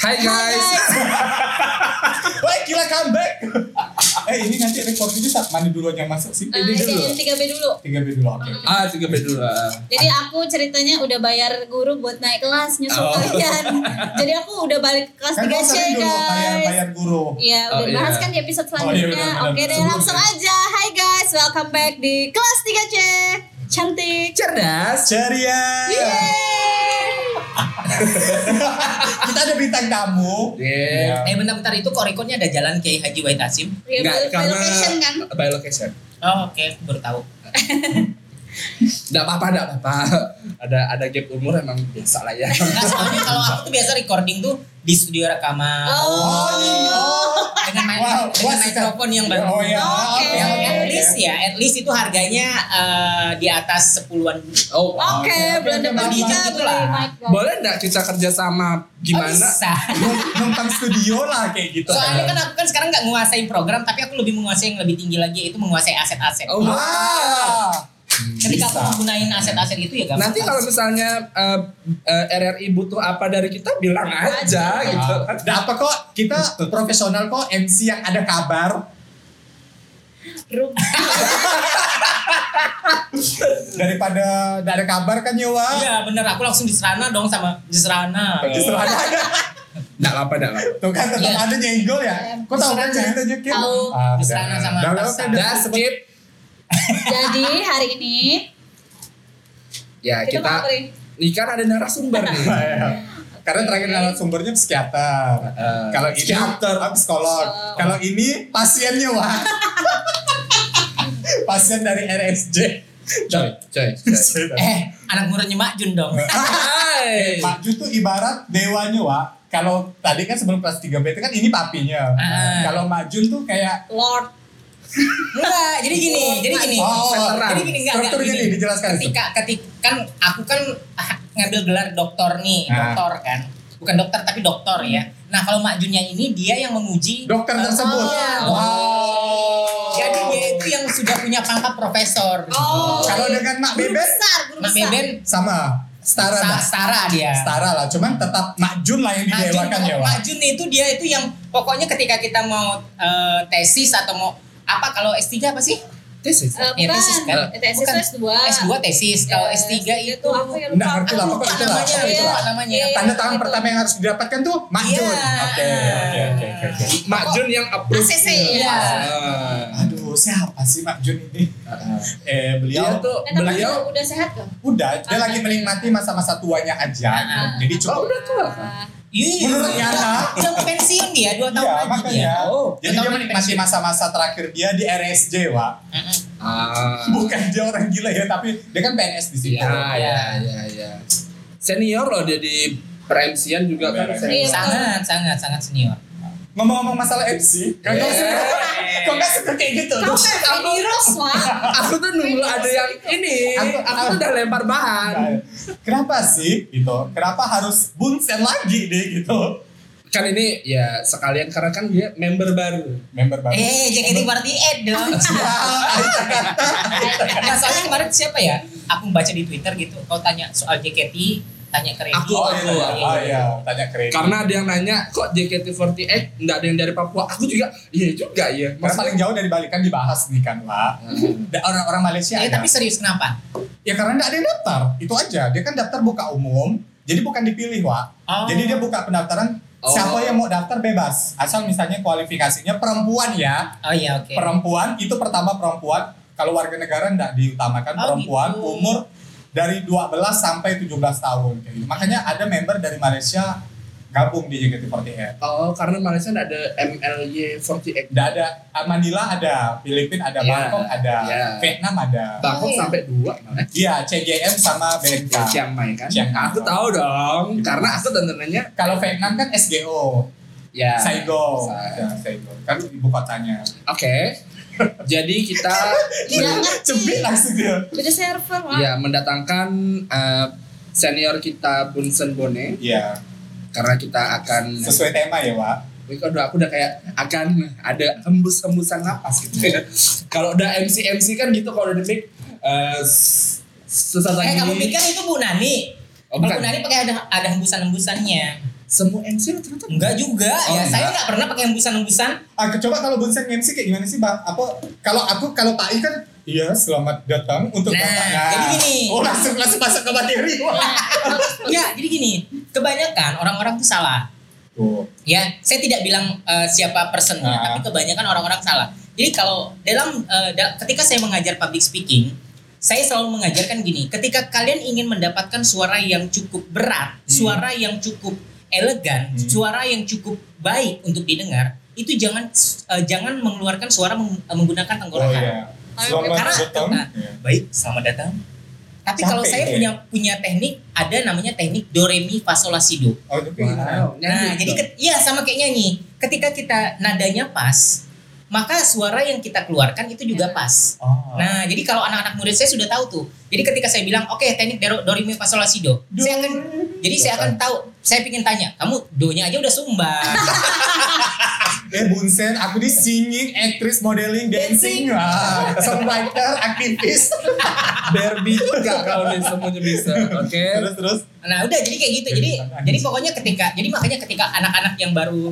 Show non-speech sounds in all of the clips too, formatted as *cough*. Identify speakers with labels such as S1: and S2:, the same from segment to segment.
S1: Hai guys.
S2: Wah gila comeback. *laughs* eh ini nanti recordingnya saat mandi duluan yang masuk sih.
S1: Ini dulu.
S3: Ah, tiga B dulu.
S2: Tiga B dulu oke. oke.
S1: Ah, tiga B dulu. ah.
S3: Jadi aku ceritanya udah bayar guru buat naik kelas nyusul
S1: Oh.
S3: kalian. Jadi aku udah balik ke kelas
S2: Kan
S3: 3
S2: kau
S3: C
S2: sering dulu bayar
S3: guys.
S2: bayar guru.
S3: Iya,
S1: Oh,
S3: udah bahas
S1: iya.
S3: kan di episode
S2: Oh, iya,
S3: selanjutnya.
S2: benar-benar.
S3: Oke deh,
S2: Sebelumnya.
S3: langsung aja. Hai guys, welcome back di kelas 3 C. Cantik.
S1: Cerdas.
S2: Ceria.
S3: Yeay.
S2: Kita ada bintang tamu. Ya.
S1: Iya.
S4: Eh bentar-bentar itu kok rekodnya ada jalan Kiai Haji Wahid Hasim.
S3: Ya,
S1: Enggak,
S3: by
S1: karena
S3: location kan.
S1: by location.
S4: Oh, oke, baru tahu.
S1: Enggak apa-apa, enggak apa-apa. Ada ada gap umur emang biasa lah ya.
S4: Nah, soalnya kalau aku tuh biasa recording tuh di studio rekaman
S3: Oh.
S2: iya.
S4: dengan mic-
S2: Wow,
S4: dengan
S2: wah,
S4: mikrofon yang baru.
S2: Oh ya.
S3: Oke.
S2: oke,
S4: Yang
S2: oke,
S4: at
S2: oke.
S4: least ya, at least itu harganya eh, di atas sepuluhan.
S1: Oh, wow.
S3: Oke, bulan
S2: oke,
S3: depan
S4: oke,
S3: kita
S4: oke.
S3: beli
S4: Gitu lah.
S3: mic. guys.
S1: Boleh enggak kita kerja sama
S4: Oh,
S1: gimana?
S4: bisa.
S2: Numpang- Numpang studio lah kayak gitu.
S4: Soalnya kan aku kan sekarang nggak menguasai program, tapi aku lebih menguasai yang lebih tinggi lagi yaitu menguasai aset-aset.
S1: Oh,
S2: Wah. Ah.
S4: Ketika
S2: bisa.
S4: aku menggunakan aset-aset itu ya gampang.
S1: Nanti kalau misalnya eh, eh, RRI butuh apa dari kita bilang aja gitu.
S2: Ah, Nggak apa kok kita profesional kok MC yang ada kabar daripada nggak ada kabar kan ya Wak?
S4: Iya bener, aku langsung diserana dong sama diserana.
S2: Justru ada
S1: Enggak apa-apa, enggak apa-apa.
S2: Tuh kan tetap
S4: Iya.
S2: ada nyenggol ya. Kok tahu kan ceritanya Kim?
S3: Tahu.
S2: Ah, udah.
S4: Kesana sama
S2: Udah, udah,
S4: atasan.
S2: udah.
S1: Udah skip.
S3: Jadi hari ini
S1: Ya,
S3: kita, mau
S1: kita
S3: ngapain?
S1: ini kan ada narasumber nih.
S2: *laughs* Iya. Karena terakhir narasumbernya psikiater.
S1: Eh,
S2: Kalau ini
S1: psikiater.
S2: ah, psikolog.
S3: Psikolog.
S2: Kalau ini pasiennya wah. *laughs* Pasien dari RSJ.
S1: coy, coy, coy.
S4: Eh, anak murahnya Mak Jun dong.
S1: *laughs*
S2: Eh.
S1: Hai.
S2: *laughs* Pak Ju tuh ibarat dewanya wah. Kalau tadi kan sebelum kelas 3 B itu kan ini papinya.
S4: Ah.
S2: Kalau Majun tuh kayak
S3: Lord.
S4: Enggak, jadi gini, jadi gini.
S2: Oh,
S1: veteran.
S4: Jadi gini enggak enggak
S2: strukturnya nih
S4: gini.
S2: dijelaskan. Itu.
S4: Ketika ketika kan aku kan ah, ngambil gelar doktor nih,
S2: Ah.
S4: doktor kan. Bukan dokter tapi doktor ya. Nah, kalau Mak Junnya ini dia yang menguji
S2: Dokter
S4: eh,
S2: tersebut.
S4: iya, dokter.
S2: Wow.
S4: Jadi dia itu yang sudah punya pangkat profesor.
S3: Oh.
S2: Kalau dengan Mak
S3: Guru
S2: Beben
S3: besar, guru
S4: Mak
S3: besar.
S4: Beben
S2: sama setara
S4: sa-
S2: Mbak.
S4: setara dia. Nah,
S2: setara lah cuman tetap makjun lah yang
S4: Majun,
S2: didewakan ya Wak.
S4: Majun itu dia itu yang pokoknya ketika kita mau eh, tesis atau mau apa kalau S3 apa sih?
S1: This is
S3: Eh,
S4: Ya,
S3: bukan.
S4: tesis kan?
S3: Eh, Tesis
S4: Bukan.
S3: S2.
S4: S2 tesis, kalau
S3: Eh,
S4: S3 itu
S3: apa ya,
S2: Nggak ngerti lah,
S3: Aku
S2: pokoknya
S3: lupa
S2: itu
S3: namanya.
S2: lah, pokoknya itu
S3: Iya.
S4: lah namanya.
S3: Iya,
S2: tanda tangan
S3: gitu.
S2: pertama yang harus didapatkan tuh makjun
S4: Iya.
S2: oke oke oke oke, oke
S1: Mak Jun yang approve.
S3: ACC.
S4: Iya.
S1: Ah.
S2: aduh siapa sih makjun ini eh
S1: Dia
S2: beliau
S1: Iya, tuh
S3: Eh, tapi
S1: beliau
S3: udah- udah sehat kan?
S2: udah dia lagi menikmati masa-masa tuanya aja gitu.
S4: Ah.
S2: jadi
S1: oh,
S2: cukup
S1: udah tua kan?
S4: Iya,
S2: Menurut
S4: iya.
S2: Yana.
S4: Udah mau pensiun dia 2
S2: Iya,
S4: tahun lagi dia.
S2: makanya.
S1: Oh.
S2: Jadi
S4: Atau
S2: dia
S4: main
S2: menikmati
S4: pensiun.
S2: masa-masa terakhir dia di RSJ, Wak.
S4: Mm-mm.
S1: Ah.
S2: Bukan dia orang gila ya, tapi dia kan PNS di situ.
S1: Iya, iya, iya, iya. Senior loh dia di peremsian juga kan.
S2: Iya.
S1: senior.
S4: Sangat, sangat, sangat senior.
S2: Ngomong-ngomong masalah MC, kok
S1: Eh.
S2: nggak suka? *laughs* Kok nggak suka kayak gitu?
S3: Kau kan virus,
S2: *laughs*
S3: Wak.
S1: Aku tuh nunggu
S4: Iya,
S1: ada yang ini. Aku,
S2: Aku- Iya.
S1: tuh udah lempar bahan.
S2: Kenapa sih gitu? Kenapa harus bunsen lagi deh gitu?
S1: Kan ini ya sekalian karena kan dia member baru.
S2: Member baru.
S4: Eh, JKT48 dong. Nah, soalnya kemarin siapa ya? Aku baca di Twitter gitu, kau tanya soal JKT, tanya ke Regi.
S1: Aku,
S2: Oh,
S1: aku,
S2: iya, oh iya, tanya kredit.
S1: Karena ada yang nanya kok JKT48 nggak ada yang dari Papua. Aku juga iya juga ya.
S2: Karena paling jauh dari Bali kan dibahas nih kan, Pak. Da- Orang-orang Malaysia
S4: Eh,
S2: ada.
S4: tapi serius kenapa?
S2: Ya karena nggak ada yang daftar, itu aja. Dia kan daftar buka umum, jadi bukan dipilih, Wak.
S4: Oh.
S2: Jadi dia buka pendaftaran,
S1: Oh.
S2: siapa yang mau daftar bebas. Asal misalnya kualifikasinya perempuan ya.
S4: Oh iya, oke.
S2: Perempuan, itu pertama perempuan. Kalau warga negara nggak diutamakan
S4: Oh,
S2: perempuan,
S4: gitu.
S2: umur dari 12 sampai 17 tahun. kayak gitu. Makanya ada member dari Malaysia gabung di JKT48.
S1: Oh, karena Malaysia nggak ada MLY48.
S2: Nggak ada, ah, Manila ada, Filipina ada,
S1: Iya.
S2: Bangkok ada,
S1: Iya.
S2: Vietnam ada.
S1: Bangkok
S4: Oh, iya.
S1: sampai dua malah.
S2: Iya, CGM sama BNK.
S1: Ya, Chiang Mai kan.
S2: Chiang Mai.
S1: Aku tahu dong, karena aku tontonannya
S2: Kalau Vietnam kan SGO.
S4: Iya.
S1: ya.
S2: Saigon.
S1: Sai-
S2: Ya, Saigon. Kan ibu kotanya.
S1: Oke. Jadi *laughs* kita
S3: Iya, ngerti.
S2: Cebik langsung dia.
S3: Udah server, Wak.
S4: Iya.
S1: ya mendatangkan eh, senior kita Bunsen Bone
S2: Iya,
S1: karena kita akan
S4: Iya.
S2: sesuai tema ya, Pak.
S1: Wih, kok udah aku udah kayak akan ada hembus-hembusan napas gitu. kalau udah MC MC kan gitu kalau udah demik eh s- sesaat lagi.
S4: Eh, kamu pikir itu Bu Nani?
S1: Oh,
S4: Kalau
S1: bukan.
S4: Bu Nani pakai ada ada hembusan-hembusannya.
S1: semua MC rata-rata
S4: Enggak juga.
S1: Oh,
S4: ya, saya
S1: enggak.
S4: enggak pernah pakai hembusan-hembusan.
S2: Ah, coba kalau Bunsen MC kayak gimana sih bang? Apa kalau aku kalau Pak I kan Iya, selamat datang untuk
S4: Nah,
S2: Bapak.
S4: jadi gini.
S2: Oh, langsung langsung masuk ke materi. Wah.
S4: Enggak, Ya, jadi gini, kebanyakan orang-orang tuh salah.
S2: Tuh.
S4: Ya, saya tidak bilang eh, siapa personnya,
S2: Ah.
S4: tapi kebanyakan orang-orang salah. Jadi kalau dalam eh, da- ketika saya mengajar public speaking, saya selalu mengajarkan gini, ketika kalian ingin mendapatkan suara yang cukup berat, suara yang cukup elegan,
S2: Hmm.
S4: suara yang cukup baik untuk didengar, itu jangan eh, jangan mengeluarkan suara meng- eh, menggunakan
S2: Oh
S4: tenggorokan.
S2: iya. Selamat
S4: Karena-
S2: datang.
S4: nah,
S2: Iya.
S4: Baik, selamat datang. Tapi
S2: Capek
S4: kalau saya
S2: ya?
S4: punya punya teknik, ada namanya teknik do re mi fa sol la si do.
S2: Oh, itu kayak gimana?
S1: Wow,
S4: Nah,
S2: gitu.
S4: jadi
S1: dong.
S4: ket- iya sama kayak nyanyi. Ketika kita nadanya pas, maka suara yang kita keluarkan itu juga
S3: Ya.
S4: pas.
S2: Oh.
S4: Nah, jadi kalau anak-anak murid saya sudah tahu tuh. Jadi ketika saya bilang, "Oke, teknik do, do re mi fa sol la si do." Saya akan jadi saya akan tahu, saya pingin tanya, "Kamu do-nya aja udah
S2: *laughs*
S4: sumbang."
S2: Eh Bunsen, aku di singing, aktris, modeling, dancing, ah, songwriter, aktivis,
S1: Barbie juga *laughs* kalau dia semuanya bisa. Oke.
S2: terus terus.
S4: Nah udah jadi kayak gitu jadi
S2: Jadi,
S4: jadi pokoknya ketika jadi makanya ketika anak-anak yang baru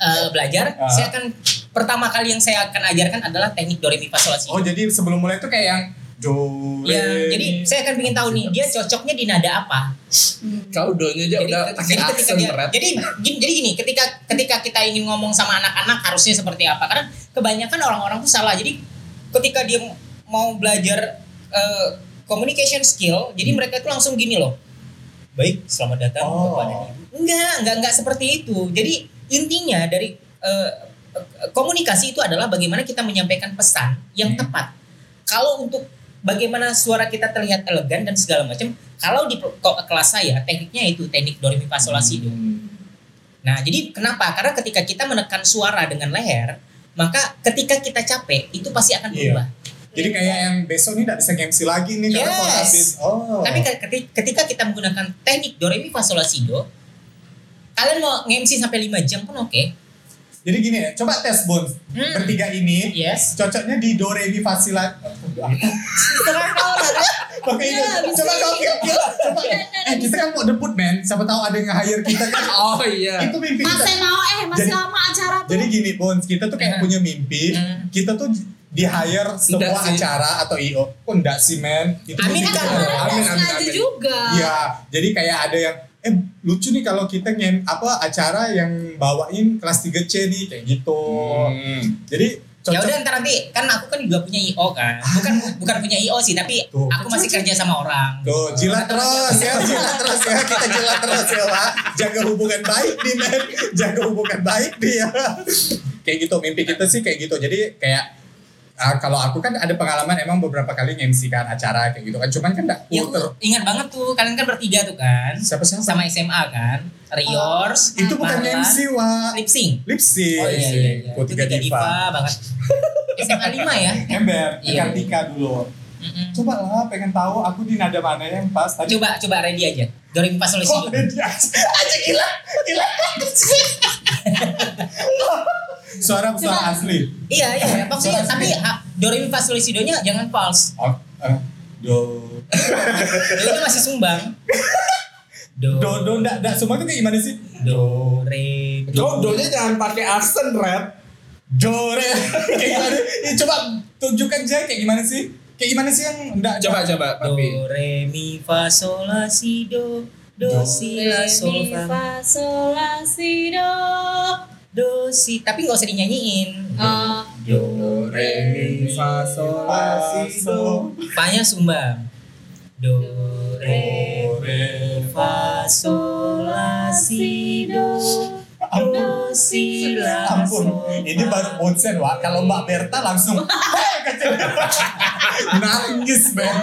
S4: eh, belajar
S2: Ah.
S4: saya akan pertama kali yang saya akan ajarkan adalah teknik do re mi fa sol la si
S2: Oh iya. jadi sebelum mulai tuh kayak yang do re,
S4: ya jadi
S2: mi.
S4: saya akan pengen tahu nih dia cocoknya di nada apa
S1: Kalau doanya aja
S4: jadi,
S1: udah
S4: ke-
S1: pakai
S4: jadi ketika
S1: aksen
S4: dia
S1: berat.
S4: jadi gini, jadi gini ketika ketika kita ingin ngomong sama anak-anak harusnya seperti apa karena kebanyakan orang-orang tuh salah jadi ketika dia mau belajar eh, communication
S1: Hmm.
S4: skill jadi mereka itu langsung gini loh baik selamat datang
S2: Oh.
S4: Bapak dan Ibu. enggak enggak enggak seperti itu jadi intinya dari eh, eh, komunikasi itu adalah bagaimana kita menyampaikan pesan yang
S2: Hmm.
S4: tepat kalau untuk bagaimana suara kita terlihat elegan dan segala macam kalau di pro- ko- kelas saya tekniknya itu teknik do re mi fa sol la si
S2: Hmm.
S4: do nah jadi kenapa karena ketika kita menekan suara dengan leher maka ketika kita capek itu pasti akan
S2: Iya.
S4: berubah
S2: Jadi kayak yang besok nih gak bisa MC lagi nih karena
S4: Yes.
S2: mau habis. Oh.
S4: tapi ke- keti- ketika kita menggunakan teknik do re mi fa sol la si do kalian mau nge-MC sampai 5 jam pun oke
S2: jadi gini ya, coba tes Bones
S4: Hmm.
S2: bertiga ini
S4: yes
S2: cocoknya di do re mi fa si la.
S4: Terang kalau ada-
S2: Pakai ini.
S3: Iya, bisa.
S2: Coba kau kira coba.
S4: Iya,
S2: Eh kita kan mau debut men, siapa tahu ada yang hire kita kan.
S1: Oh iya.
S2: Itu mimpi kita.
S3: Masih mau eh masih
S2: Jadi-
S3: lama acara tuh.
S2: Jadi gini Bones, kita tuh kayak
S4: Hmm.
S2: punya mimpi,
S4: Hmm.
S2: kita tuh di hire semua
S1: Enggak sih.
S2: acara atau IO. Kok enggak sih men? Itu
S4: Amin,
S2: mimpi
S3: kan
S2: kita.
S4: Kak.
S3: kemarin
S1: Amin,
S3: udah
S1: amin,
S3: sengaja
S1: amin.
S3: juga.
S2: Iya, jadi kayak ada yang eh lucu nih kalau kita ngem apa acara yang bawain kelas 3C nih kayak gitu.
S3: Hmm.
S2: Jadi
S4: ya
S2: cocok Ah.
S4: udah ntar nanti kan aku kan juga punya io kan bukan bu- bukan punya io sih tapi
S2: Tuh. kan
S4: aku masih kerja sama orang
S2: Tuh, jilat terus ya, jilat terus ya, kita jilat terus ya, Pak. Jaga hubungan baik nih, men. Jaga hubungan baik nih ya. Kayak gitu, mimpi kita sih kayak gitu. Jadi kayak ah, kalau aku kan ada pengalaman emang beberapa kali nge-MC kan acara kayak gitu kan. Cuman kan enggak
S4: ya
S2: puter.
S4: aku ingat banget tuh kalian kan bertiga tuh kan
S2: Siapa siapa?
S4: sama SMA kan Riors
S2: Oh, itu bukan
S4: Marlan,
S2: MC, Wak.
S4: lip sync
S2: Lip sync.
S4: oh iya iya iya
S2: Ku tiga
S4: Itu tiga diva
S2: diva. *laughs*
S4: banget SMA 5 ya
S2: Ember,
S4: Iya.
S2: Kartika dulu.
S4: Mm-mm.
S2: Coba lah pengen tahu aku di nada mana yang pas tadi.
S4: coba coba ready aja Dorim pas oleh
S2: Kok ada dia? Aja gila, gila. suara suara asli.
S4: iya iya maksudnya tapi ha, Dorim pas oleh sidonya jangan false
S2: Oh, eh, do
S4: itu masih sumbang do
S2: *laughs* do do ndak ndak semua itu kayak gimana sih?
S4: do re do
S1: Do doanya jangan pakai aksen red.
S2: Do re kayak gimana? Ih, coba tunjukkan aja kayak gimana sih? Kayak gimana sih yang ndak
S1: Coba coba
S4: Do
S1: tapi
S4: re mi fa sol la si do
S2: Do,
S4: do si la sol
S3: Re, mi,
S4: fa
S3: fa sol la si do.
S4: do si tapi nggak usah dinyanyiin.
S2: Iya.
S3: Eh,
S1: do re mi fa sol la si do.
S4: Fa-nya sumbang. Do re
S2: Do re
S4: fa sol la si do do si la
S2: Ampun,
S4: sol.
S2: ini baru onsen wah. Kalau Mbak Berta langsung
S1: *laughs*
S2: nangis men.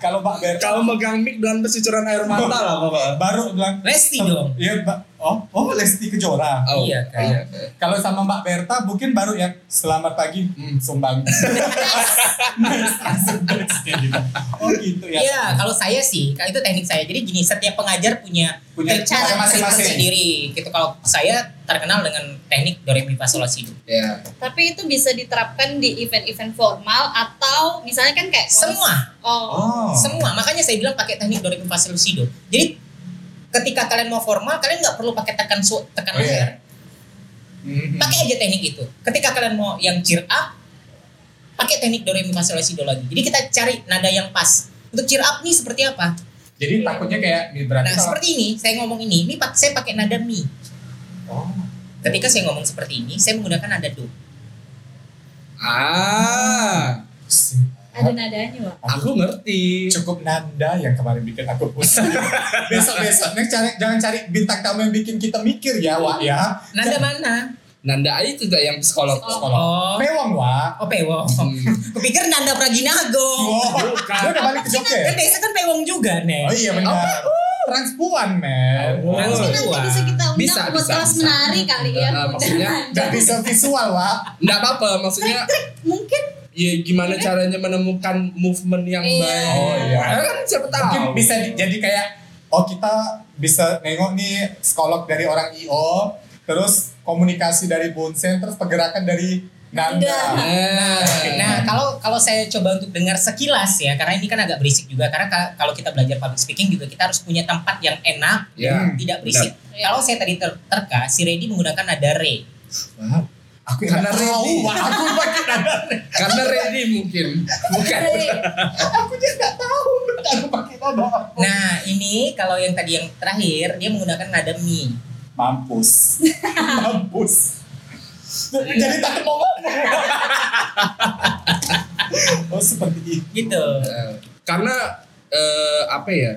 S2: Kalau Mbak Berta
S1: Kalau megang mic dengan bercucuran air mata lah Bapak.
S2: baru bilang
S4: Lesti dong.
S2: Iya, Mbak. Oh, oh Lesti Kejora.
S1: Oh,
S4: Iya, Kak.
S1: iya.
S2: Kalau sama Mbak Berta mungkin baru ya selamat pagi, hmm, sumbang. Nice, langsung nice, kayak gitu. oh gitu ya.
S4: Iya, kalau saya sih, kalau itu teknik saya. Jadi gini, setiap pengajar punya
S2: Punya
S4: teknik
S2: cara masing-masing.
S4: sendiri. Gitu kalau saya terkenal dengan teknik do re mi fa sol la si do.
S1: Iya.
S3: tapi itu bisa diterapkan di event-event formal atau misalnya kan kayak
S4: Semua.
S3: Oh.
S2: Oh.
S4: semua makanya saya bilang pakai teknik do re mi fa sol la si do jadi ketika kalian mau formal kalian nggak perlu pakai tekan su tekan
S2: Oh, iya. Hmm.
S4: air.
S1: Mhm.
S4: pakai aja teknik itu ketika kalian mau yang cheer up pakai teknik do re mi fa sol la si do lagi jadi kita cari nada yang pas untuk cheer up nih seperti apa
S2: Jadi takutnya kayak nih berarti
S4: nah
S2: kalau-
S4: seperti ini saya ngomong ini ini pak- saya pakai nada mi
S2: Oh.
S4: ketika saya ngomong seperti ini saya menggunakan nada do
S1: Ah,
S2: si-
S3: Ada nadanya loh.
S2: Oh.
S1: aku ngerti.
S2: cukup Nanda yang kemarin bikin aku pusing. Besok-besok next cari, jangan cari bintang tamu yang bikin kita mikir ya, Wak ya.
S4: nada mana
S1: Nanda Ayu tidak yang psikolog.
S3: Psikolog.
S2: Kalau
S4: Oh.
S2: ya. pewang, Wak.
S4: oh pewong
S1: Hmm.
S4: kupikir nada praginago
S2: Oh,
S1: Bukan.
S2: dia udah balik ke Jogja. ya?
S4: kan desa kan pewong juga nih
S2: Oh iya benar. Transpuan, men.
S1: Oh.
S3: Mungkin
S4: Langsung.
S3: nanti bisa kita undang
S1: Bisa,
S3: buat
S1: bisa,
S3: kelas
S1: bisa.
S3: menari kali ya.
S1: Eh, maksudnya,
S2: Gak bisa visual, Wak.
S1: Nggak apa-apa, maksudnya
S3: Trik-trik mungkin
S1: ya gimana caranya menemukan movement yang
S3: Iya.
S1: baik.
S2: Oh, iya.
S1: Karena kan siapa tahu.
S2: Mungkin bisa di- jadi kayak oh kita bisa nengok nih psikolog dari orang IO, terus komunikasi dari Bunsen, terus pergerakan dari Nanda. *laughs*
S1: Nah,
S4: Nah, kalau kalau saya coba untuk dengar sekilas ya, karena ini kan agak berisik juga. Karena ka- kalau kita belajar public speaking juga kita harus punya tempat yang enak,
S2: hmm.
S1: ya.
S4: tidak berisik. Kalau saya tadi ter- terka, si Reddy menggunakan nada re.
S2: Wah, Aku yang
S1: Karena
S2: nggak tahu,
S1: ready.
S2: Wak. Aku pakai Nanda.
S1: Karena ready mungkin. Bukan.
S2: Aku juga nggak tahu. Aku pakai Nanda.
S4: Nah, ini kalau yang tadi yang terakhir dia menggunakan nada mi.
S2: Mampus. *laughs* Mampus. Jadi tak *laughs* mau ngomong. Oh seperti itu.
S4: Gitu.
S1: Eh, karena eh, apa ya?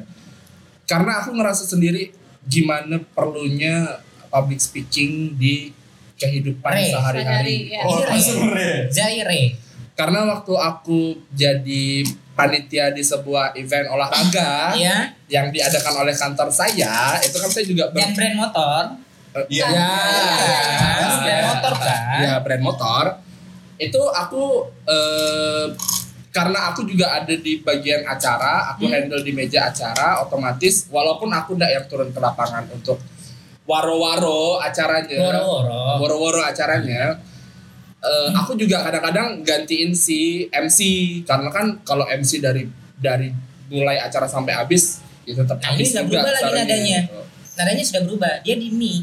S1: Karena aku ngerasa sendiri gimana perlunya public speaking di kehidupan
S4: Re.
S1: sehari-hari.
S3: Sehari, ya.
S2: Oh,
S4: Iya,
S2: langsung re.
S4: Zaire.
S1: Karena waktu aku jadi panitia di sebuah event olahraga
S4: Ya,
S1: yang diadakan oleh kantor saya, itu kan saya juga ber-
S4: dan brand motor.
S1: Eh,
S2: Iya.
S1: Ya. ah,
S4: Kan brand motor kan.
S1: ya brand motor itu aku eh, karena aku juga ada di bagian acara aku
S4: Hmm.
S1: handle di meja acara otomatis walaupun aku ndak yang turun ke lapangan untuk waro-waro acaranya
S4: Oh. Woro-woro.
S1: woro-woro acaranya eh, aku juga kadang-kadang gantiin si MC karena kan kalau MC dari dari mulai acara sampai habis ya tetap
S4: Nah, ini
S1: habis
S4: nggak
S1: juga
S4: berubah lagi
S1: suaranya,
S4: nadanya.
S1: gitu.
S4: Nadanya sudah berubah. Dia di mi.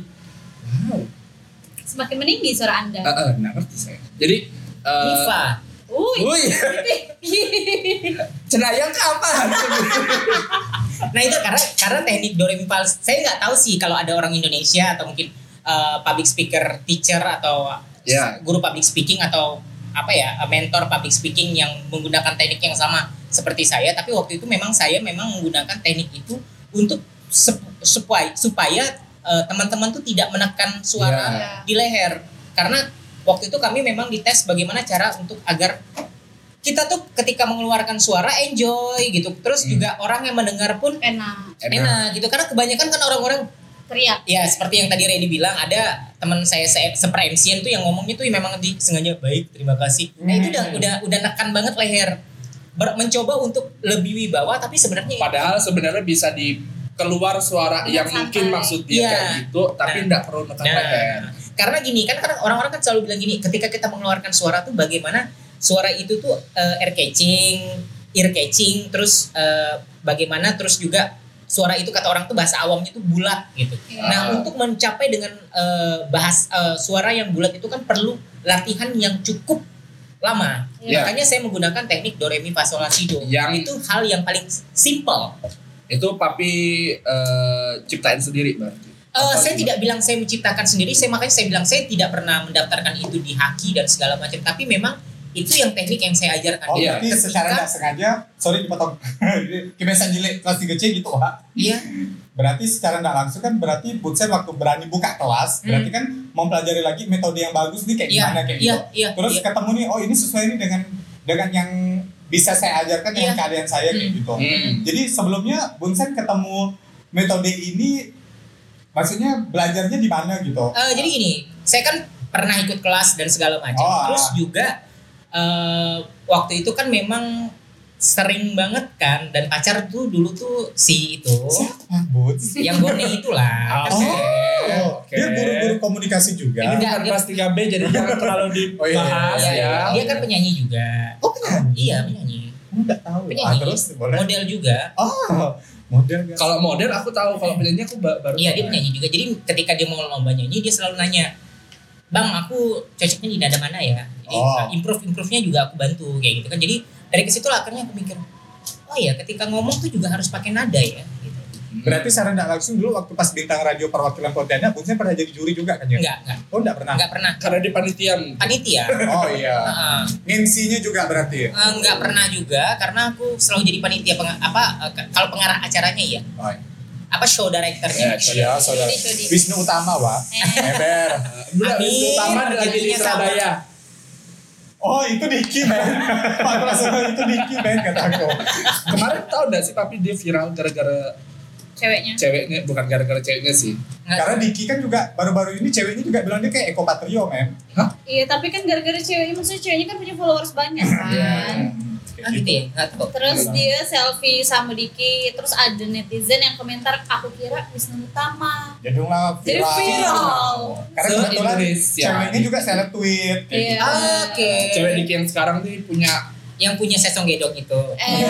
S3: semakin meninggi suara Anda.
S1: Eh, eh, nah, ngerti saya jadi eh,
S4: Diva.
S3: Wuih. Iya.
S1: Wuih, *laughs* cenayang ke apa?
S4: *laughs* Nah itu karena karena teknik do re mi fa saya nggak tahu sih kalau ada orang Indonesia atau mungkin eh, public speaker teacher atau
S1: Ya.
S4: guru public speaking atau apa ya mentor public speaking yang menggunakan teknik yang sama seperti saya tapi waktu itu memang saya memang menggunakan teknik itu untuk sep- supaya supaya eh, teman-teman tuh tidak menekan suara
S1: Ya.
S4: di leher karena waktu itu kami memang dites bagaimana cara untuk agar kita tuh ketika mengeluarkan suara enjoy gitu terus
S1: Hmm.
S4: juga orang yang mendengar pun
S3: Enak.
S4: enak, gitu karena kebanyakan kan orang-orang
S3: Teriak.
S4: ya seperti yang tadi Reddy bilang ada teman saya se sepremsian tuh yang ngomongnya tuh memang di sengaja baik terima kasih nah itu udah udah udah nekan banget leher Ber- mencoba untuk lebih wibawa tapi sebenarnya ya
S1: Padahal sebenarnya bisa di keluar suara yang
S3: Santai.
S1: mungkin maksud dia
S4: Iya.
S1: kayak gitu, tapi
S4: Nah.
S1: nggak perlu nekan
S4: Nah,
S1: leher.
S4: karena gini kan karena orang-orang kan selalu bilang gini ketika kita mengeluarkan suara tuh bagaimana suara itu tuh eh, air catching ear catching terus eh, bagaimana terus juga suara itu kata orang tuh bahasa awamnya tuh bulat gitu
S3: Iya.
S4: nah
S1: Ah.
S4: untuk mencapai dengan eh, bahas eh, suara yang bulat itu kan perlu latihan yang cukup lama
S3: Ya.
S1: Iya.
S4: makanya saya menggunakan teknik do re mi fa sol la si do
S1: Yang-
S4: itu hal yang paling simple
S1: Itu papi eh, ciptain sendiri berarti.
S4: Eh,
S1: Atau
S4: saya
S1: gimana?
S4: tidak bilang saya menciptakan sendiri, saya makanya saya bilang saya tidak pernah mendaftarkan itu di haki dan segala macam. Tapi memang itu yang teknik yang saya ajarkan.
S2: Oh,
S1: Iya.
S2: berarti
S4: Ketika-
S2: secara nggak sengaja, sorry dipotong. *laughs* Kebiasaan jelek kelas 3C gitu, Wak.
S4: Iya.
S2: Berarti secara nggak langsung kan berarti Bunsen waktu berani buka kelas,
S4: Hmm.
S2: berarti kan mempelajari lagi metode yang bagus nih kayak
S4: Iya,
S2: gimana kayak
S4: iya,
S2: gitu.
S4: iya.
S2: Terus
S4: iya.
S2: ketemu nih, oh ini sesuai nih dengan dengan yang bisa saya ajarkan dengan
S4: Iya.
S2: keadaan saya kayak
S4: Hmm.
S2: gitu.
S1: Hmm.
S2: Jadi sebelumnya Bunsen ketemu metode ini maksudnya belajarnya di mana gitu.
S4: Eh, jadi gini, saya kan pernah ikut kelas dan segala macam.
S2: Oh,
S4: Terus
S2: ah.
S4: juga eh, waktu itu kan memang sering banget kan dan pacar tuh dulu tuh si itu
S2: Siapa Buns?
S4: yang
S2: *laughs*
S4: Borne
S2: Oh,
S4: itulah.
S1: Oke. oke.
S2: Dia guru-guru komunikasi juga.
S1: Ini bukan
S4: Enggak, dia-
S1: kelas 3B *laughs* jadi jangan terlalu
S2: Oh, iya,
S1: dibahas
S4: Iya,
S1: ya.
S4: Dia kan penyanyi juga.
S2: Oh, penyanyi?
S4: Iya penyanyi.
S2: Enggak tahu. Ah,
S4: Penyanyi.
S2: terus boleh.
S4: model juga
S2: Oh, model guys.
S1: Kalau model aku tahu, kalau penyanyi aku ba- baru.
S4: iya
S1: tahu.
S4: dia penyanyi juga jadi ketika dia mau lomba nyanyi dia selalu nanya bang aku cocoknya di nada mana ya jadi
S2: Oh.
S4: improve improve nya juga aku bantu kayak gitu kan jadi dari kesitu lah akhirnya aku mikir oh ya ketika ngomong tuh juga harus pakai nada ya gitu.
S2: Berarti secara nggak langsung dulu waktu pas bintang radio perwakilan Pontianak, Bungsen pernah jadi juri juga kan ya?
S4: nggak nggak
S2: Oh, enggak pernah.
S4: nggak pernah
S1: Karena di panitia.
S4: panitia
S2: Oh iya.
S4: Heeh.
S2: MC-nya juga berarti ya?
S4: Eh, nggak pernah juga karena aku selalu jadi panitia peng- apa eh, ke- kalau pengarah acaranya ya
S2: Oh, iya.
S4: apa show directornya
S2: Iya, saudara.
S3: Juri, juri.
S2: Wisnu Utama, Wak. Eber.
S1: Bulan
S4: Amin.
S1: utama lagi di
S4: Rezekinya sama.
S1: Surabaya.
S2: Oh, itu Diki, men. Pak Prasono itu Diki, men, kata aku.
S1: Kemarin tau gak sih tapi dia viral gara-gara
S3: Ceweknya.
S1: ceweknya, bukan gara-gara ceweknya sih.
S4: Nggak-
S2: Karena Diki kan juga baru-baru ini ceweknya juga bilang dia kayak Eko Patrio, men.
S3: Iya, tapi kan gara-gara ceweknya, maksudnya ceweknya kan punya followers banyak kan.
S2: Hmm,
S4: ah, gitu ya nggak tahu
S3: Terus dia selfie sama Diki, terus ada netizen yang komentar, aku kira Wisnu Utama.
S2: Jadilah
S3: Jadi
S2: viral.
S3: viral.
S2: Karena
S1: Se-
S2: kebetulan
S1: Indonesia.
S2: ceweknya juga seleb tweet. kayak
S3: Iya.
S2: gitu.
S4: oke
S1: Cewek Diki yang sekarang nih punya
S4: yang punya sesong gedong itu
S3: Eh,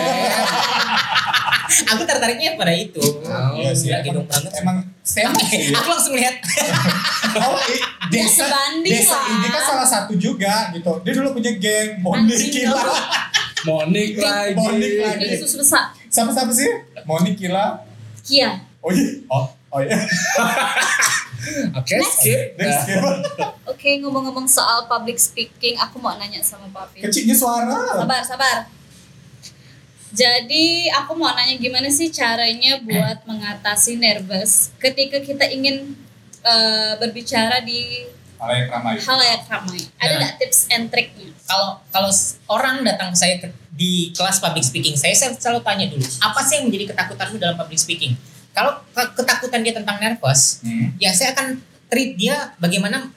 S4: aku tertariknya pada itu
S1: Oh,
S2: Iya sih.
S4: Gila,
S2: emang-
S4: gedong banget
S2: Emang
S4: Eh,
S2: seleb sih. ya.
S4: aku langsung melihat
S2: Oh, i- desa,
S3: sebanding
S2: desa
S3: lah.
S2: ini kan salah satu juga gitu. Dia dulu punya geng Monik
S3: Anjing
S2: Kila.
S3: dong.
S1: Monik lagi.
S2: Monik lagi.
S3: ini susu besar.
S2: Siapa-siapa sih? Monik Kila.
S3: Kia.
S2: Oh iya. Oh, oh iya.
S1: Oke, skip. Nah.
S2: Next game.
S3: Oke, ngomong-ngomong soal public speaking, aku mau nanya sama Papi.
S2: Kecilnya suara.
S3: Sabar, sabar. Jadi aku mau nanya gimana sih caranya buat mengatasi nervous ketika kita ingin eh, berbicara di
S2: Alayak ramai.
S3: halayak ramai. Ada
S4: Nah.
S3: nggak tips and triknya?
S4: kalau kalau s- orang datang ke saya ke- di kelas public speaking saya sel- selalu tanya dulu apa sih yang menjadi ketakutanmu dalam public speaking kalau ke- ketakutan dia tentang nervous
S2: Hmm.
S4: ya saya akan treat dia bagaimana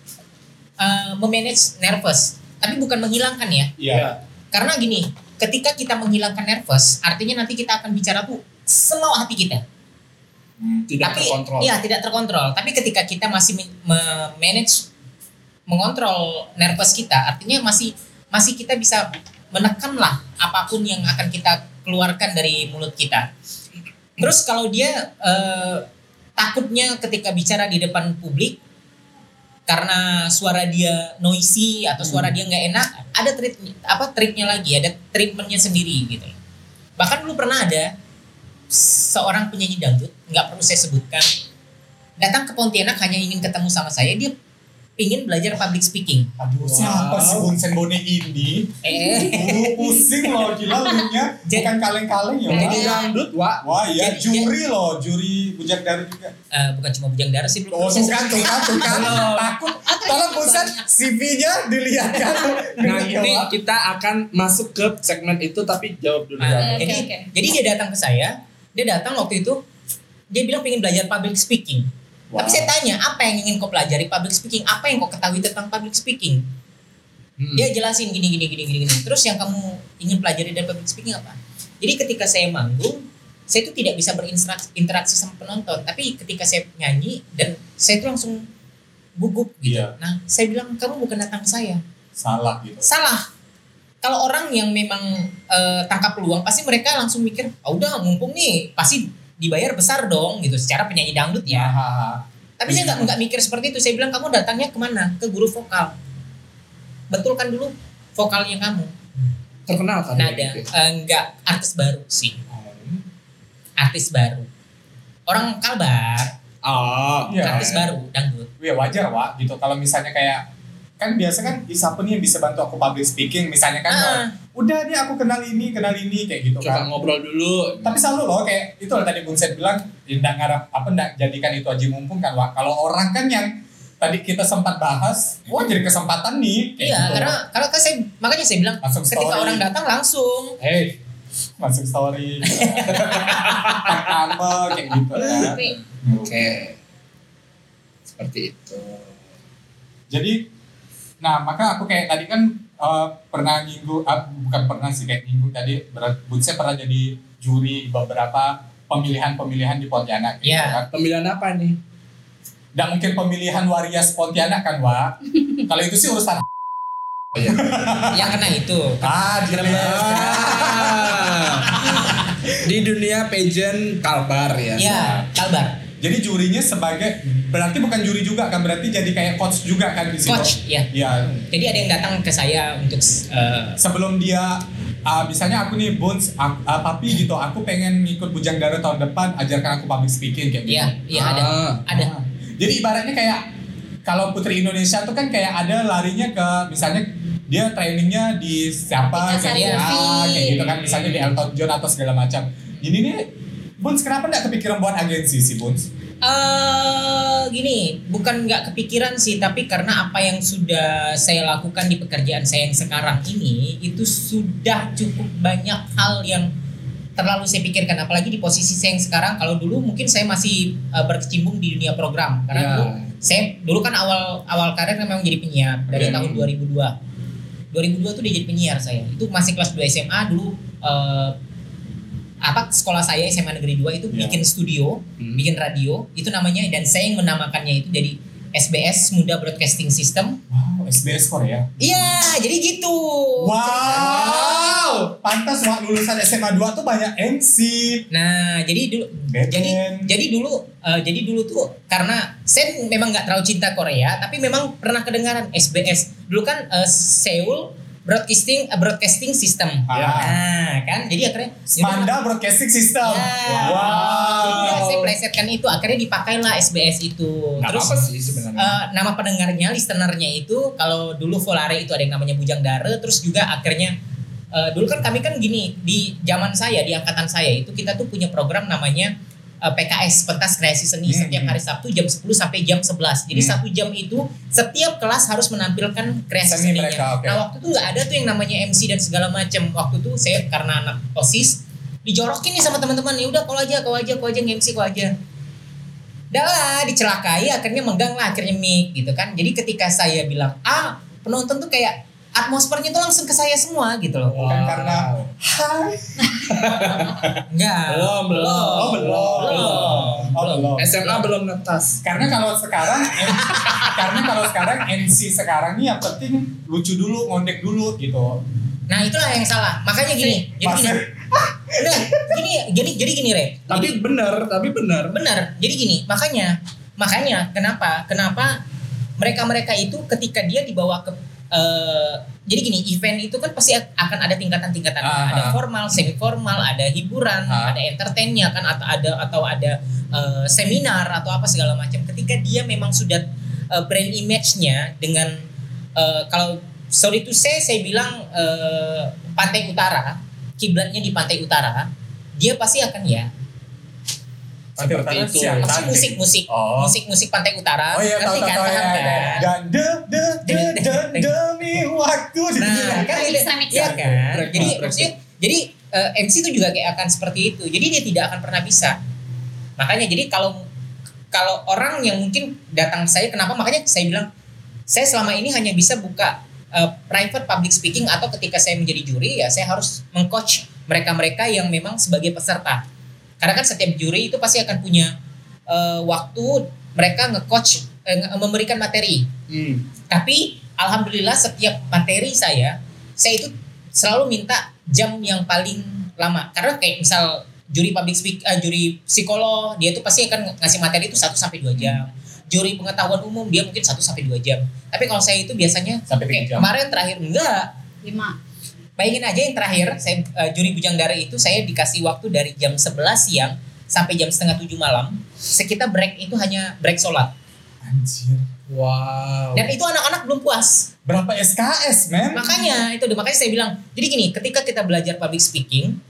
S4: uh, memanage nervous tapi bukan menghilangkan ya
S2: Iya.
S4: karena gini ketika kita menghilangkan nervous artinya nanti kita akan bicara tuh semau hati kita
S1: Nah,
S2: Hmm.
S1: Tidak
S4: tapi
S1: terkontrol.
S4: iya tidak terkontrol tapi ketika kita masih men- memanage mengontrol nervous kita artinya masih masih kita bisa menekan lah apapun yang akan kita keluarkan dari mulut kita terus kalau dia eh, takutnya ketika bicara di depan publik karena suara dia noisy atau suara dia nggak enak ada trik apa triknya lagi ada treatmentnya sendiri gitu bahkan dulu pernah ada seorang penyanyi dangdut nggak perlu saya sebutkan datang ke Pontianak hanya ingin ketemu sama saya dia ingin belajar public speaking
S2: Aduh, siapa sih Bunsen Bone ini?
S4: eh
S2: Lu pusing loh, gila lu nya.
S4: Jadi-
S2: Bukan kaleng-kaleng ya.
S1: Jadi
S2: Wak.
S1: dangdut, Wak.
S2: Wah iya,
S4: Jadi-
S2: juri loh, juri bujak dari juga.
S4: eh, bukan cuma bujang darah sih belum
S2: Oh, tuh *laughs* kan, tuh kan, tuh kan. Takut. Tolong Bunsen, CV-nya dilihatkan. Iya,
S1: Nanti kita akan masuk ke segmen itu tapi jawab dulu.
S4: Ah,
S3: Oke,
S4: jadi,
S3: oke.
S4: jadi dia datang ke saya dia datang waktu itu dia bilang pengen belajar public speaking tapi saya tanya apa yang ingin kau pelajari public speaking apa yang kau ketahui tentang public speaking
S1: Hmm.
S4: dia jelasin gini gini gini gini gini terus yang kamu ingin pelajari dari public speaking apa jadi ketika saya manggung saya itu tidak bisa berinteraksi sama penonton tapi ketika saya nyanyi dan saya itu langsung gugup gitu
S2: Iya.
S4: nah saya bilang kamu bukan datang ke saya
S2: Salah gitu.
S4: salah kalau orang yang memang eh, tangkap peluang pasti mereka langsung mikir oh udah mumpung nih pasti dibayar besar dong gitu secara penyanyi dangdut
S2: Nah,
S4: ya
S2: Hahaha.
S4: tapi saya nggak nggak mikir seperti itu. Saya bilang kamu datangnya kemana? Ke guru vokal. Betulkan dulu vokalnya kamu.
S1: Terkenal kan?
S4: Nada
S1: dia
S2: ya?
S1: gitu.
S4: Eh, nggak artis baru sih. Artis baru. Orang Kalbar,
S1: Oh,
S2: Iya.
S4: artis baru dangdut.
S2: ya wajar Wak gitu kalau misalnya kayak kan biasa kan siapa nih yang bisa bantu aku public speaking misalnya kan
S4: Ah.
S2: udah nih aku kenal ini kenal ini kayak gitu
S1: coba
S2: kan
S1: ngobrol dulu.
S2: tapi selalu loh kayak itu loh tadi Bung Sen bilang ya nggak ngarap apa nggak jadikan itu aja mumpung kan Wak kalau orang kan yang tadi kita sempat bahas wah jadi kesempatan nih kayak
S4: Iya,
S2: gitu.
S4: karena karena kan saya makanya saya bilang
S2: Langsung
S4: ketika
S2: story.
S4: orang datang langsung
S2: hey masuk story
S4: *laughs*
S2: pertama kayak gitu ya
S3: Tapi
S1: Oke. Seperti itu.
S2: jadi nah maka aku kayak tadi kan eh, pernah nyinggung ah, bukan pernah sih kayak nyinggung tadi berat saya pernah jadi juri beberapa pemilihan-pemilihan di Pontianak gitu
S4: Iya.
S2: kan
S1: Pemilihan apa nih?
S2: nggak mungkin pemilihan Warias Pontianak kan
S4: *laughs*
S2: Wak kalau itu sih urusan
S1: Oh, iya.
S4: Ya,
S2: *laughs* gitu.
S4: yang kena itu.
S2: ah gila.
S1: Ah, *laughs* di dunia pageant kalbar ya.
S4: ya kalbar
S2: Jadi jurinya sebagai berarti bukan juri juga kan berarti jadi kayak coach juga kan di situ.
S4: Coach, iya.
S2: Iya.
S4: jadi ada yang datang ke saya untuk eh,
S2: Sebelum dia ah, misalnya aku nih Bones, ak- ah, papi gitu, aku pengen ngikut Bujang Dara tahun depan, ajarkan aku public speaking kayak gitu.
S4: Iya, iya ada,
S1: Ah.
S4: ada.
S2: Ah. Jadi ibaratnya kayak kalau Putri Indonesia tuh kan kayak ada larinya ke misalnya dia trainingnya di siapa
S3: Ika
S2: kayak, gitu,
S3: Sari
S2: ah,
S3: Lutfi.
S2: kayak gitu kan misalnya di Elton John atau segala macam. Ini nih Buns kenapa nggak kepikiran buat agensi sih Buns?
S4: Eh, gini, bukan nggak kepikiran sih, tapi karena apa yang sudah saya lakukan di pekerjaan saya yang sekarang ini itu sudah cukup banyak hal yang terlalu saya pikirkan, apalagi di posisi saya yang sekarang. Kalau dulu mungkin saya masih eh, berkecimpung di dunia program, karena
S1: Ya.
S4: dulu saya dulu kan awal awal karir memang jadi penyiar dari
S2: Oke.
S4: tahun 2002. 2002 tuh dia jadi penyiar saya. Itu masih kelas 2 SMA dulu eh, apa sekolah saya SMA Negeri 2 itu
S2: Ya.
S4: bikin studio
S1: Hmm.
S4: bikin radio itu namanya dan saya yang menamakannya itu jadi SBS Muda Broadcasting System
S2: Wow, SBS Korea.
S4: iya jadi gitu
S2: Wow, pantas wah lulusan SMA 2 tuh banyak MC.
S4: nah jadi dulu
S2: Batman.
S4: jadi jadi dulu eh, jadi dulu tuh karena saya memang nggak terlalu cinta Korea tapi memang pernah kedengaran SBS dulu kan eh, Seoul Broadcasting eh, Broadcasting System
S2: Ah.
S4: nah kan jadi akhirnya
S2: Manda Broadcasting System.
S4: kan- Ya. Iya, Jadi
S2: Wow.
S4: saya plesetkan itu akhirnya dipakailah SBS itu
S2: Nggak
S4: terus
S2: apa-apa
S1: sih sebenarnya.
S4: eh, nama pendengarnya, listenernya itu kalau dulu Volare itu ada yang namanya Bujang Dare, terus juga akhirnya eh, dulu kan kami kan gini di zaman saya, di angkatan saya itu kita tuh punya program namanya eh, PKS Pentas Kreasi Seni
S2: Hmm,
S4: setiap
S2: hmm.
S4: hari Sabtu jam 10 sampai jam 11. Jadi
S2: Hmm.
S4: satu jam itu setiap kelas harus menampilkan kreasi
S2: Seni
S4: seninya.
S2: mereka, oke.
S4: Nah waktu itu nggak ada tuh yang namanya MC dan segala macam. Waktu itu saya karena anak osis dijorokin nih sama teman-teman ya udah kau aja kau aja kau aja MC kau aja dah lah dicelakai akhirnya menggang lah akhirnya mic gitu kan jadi ketika saya bilang ah penonton tuh kayak atmosfernya tuh langsung ke saya semua gitu loh
S2: Bukan karena hai.
S4: *laughs* enggak
S1: Belum, belum.
S2: Oh, belum. Oh, belum.
S1: SMA belum netas.
S2: Karena kalau sekarang em- karena kalau sekarang MC sekarang nih yang penting lucu dulu, ngondek dulu gitu.
S4: nah itulah yang salah makanya gini jadi gini
S2: Pasir.
S4: Udah, gini jadi jadi gini re
S1: Tapi bener, tapi bener.
S4: benar jadi gini makanya makanya kenapa kenapa mereka mereka itu ketika dia dibawa ke eh, jadi gini event itu kan pasti akan ada tingkatan tingkatan
S2: Ah,
S4: ada
S2: ah.
S4: formal semi formal ada hiburan
S2: Ah.
S4: ada entertainnya kan atau ada atau ada eh, seminar atau apa segala macam ketika dia memang sudah eh, brand image-nya dengan eh, kalau sorry to say saya bilang eh, pantai utara kiblatnya di pantai utara dia pasti akan ya
S1: Seperti
S2: Pantai Utara
S1: itu.
S2: siang
S4: Maksudnya
S2: tadi.
S4: musik musik
S2: Oh.
S4: musik musik pantai utara
S2: Oh iya tahu tahu
S4: ngerti kan
S2: tahu,
S4: paham
S2: ya.
S4: kan
S2: Dan de de de de demi waktu.
S4: nah kan
S3: Mix,
S4: ini
S3: mix.
S4: iya kan
S1: Break,
S4: jadi
S1: break.
S4: maksudnya jadi eh, MC itu juga kayak akan seperti itu jadi dia tidak akan pernah bisa makanya jadi kalau kalau orang yang mungkin datang ke saya kenapa makanya saya bilang saya selama ini hanya bisa buka eh, private public speaking atau ketika saya menjadi juri ya saya harus mengcoach mereka-mereka yang memang sebagai peserta karena kan setiap juri itu pasti akan punya eh, waktu mereka nge-coach eh, nge- memberikan materi
S1: Hmm.
S4: tapi alhamdulillah setiap materi saya saya itu selalu minta jam yang paling lama karena kayak misal juri public speak eh, juri psikolog dia itu pasti akan ngasih materi itu 1 sampai 2 jam juri pengetahuan umum dia mungkin 1 sampai 2 jam tapi kalau saya itu biasanya
S2: Sampai tiga
S4: kayak
S2: jam.
S4: kemarin terakhir enggak
S3: lima
S4: bayangin aja yang terakhir saya eh, juri bujang dara itu saya dikasih waktu dari jam 11 siang sampai jam setengah 7 malam sekitar break itu hanya break sholat
S2: Anjir.
S1: Wow.
S4: dan itu anak-anak belum puas
S2: Berapa SKS, men?
S4: makanya itu udah makanya saya bilang jadi gini ketika kita belajar public speaking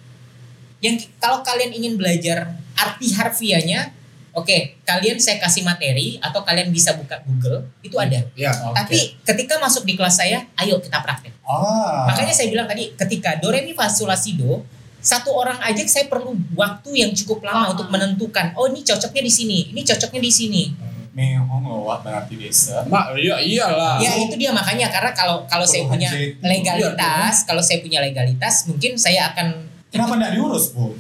S4: yang ki- kalau kalian ingin belajar arti harfiahnya oke kalian saya kasih materi atau kalian bisa buka Google itu ada
S1: Ya.
S4: tapi ketika masuk di kelas saya ayo kita praktek
S2: Ah.
S4: makanya saya bilang tadi ketika do re mi fa sol la si do satu orang aja saya perlu waktu yang cukup lama
S3: Lama.
S4: untuk menentukan oh ini cocoknya di sini ini cocoknya di sini
S2: Mehong lewat berarti desa.
S1: Mak, iya iyalah.
S4: Ya itu dia makanya karena kalau kalau saya
S2: Puluhan
S4: punya
S2: JT.
S4: legalitas, kalau saya punya legalitas mungkin saya akan
S2: Kenapa nggak diurus, Bu?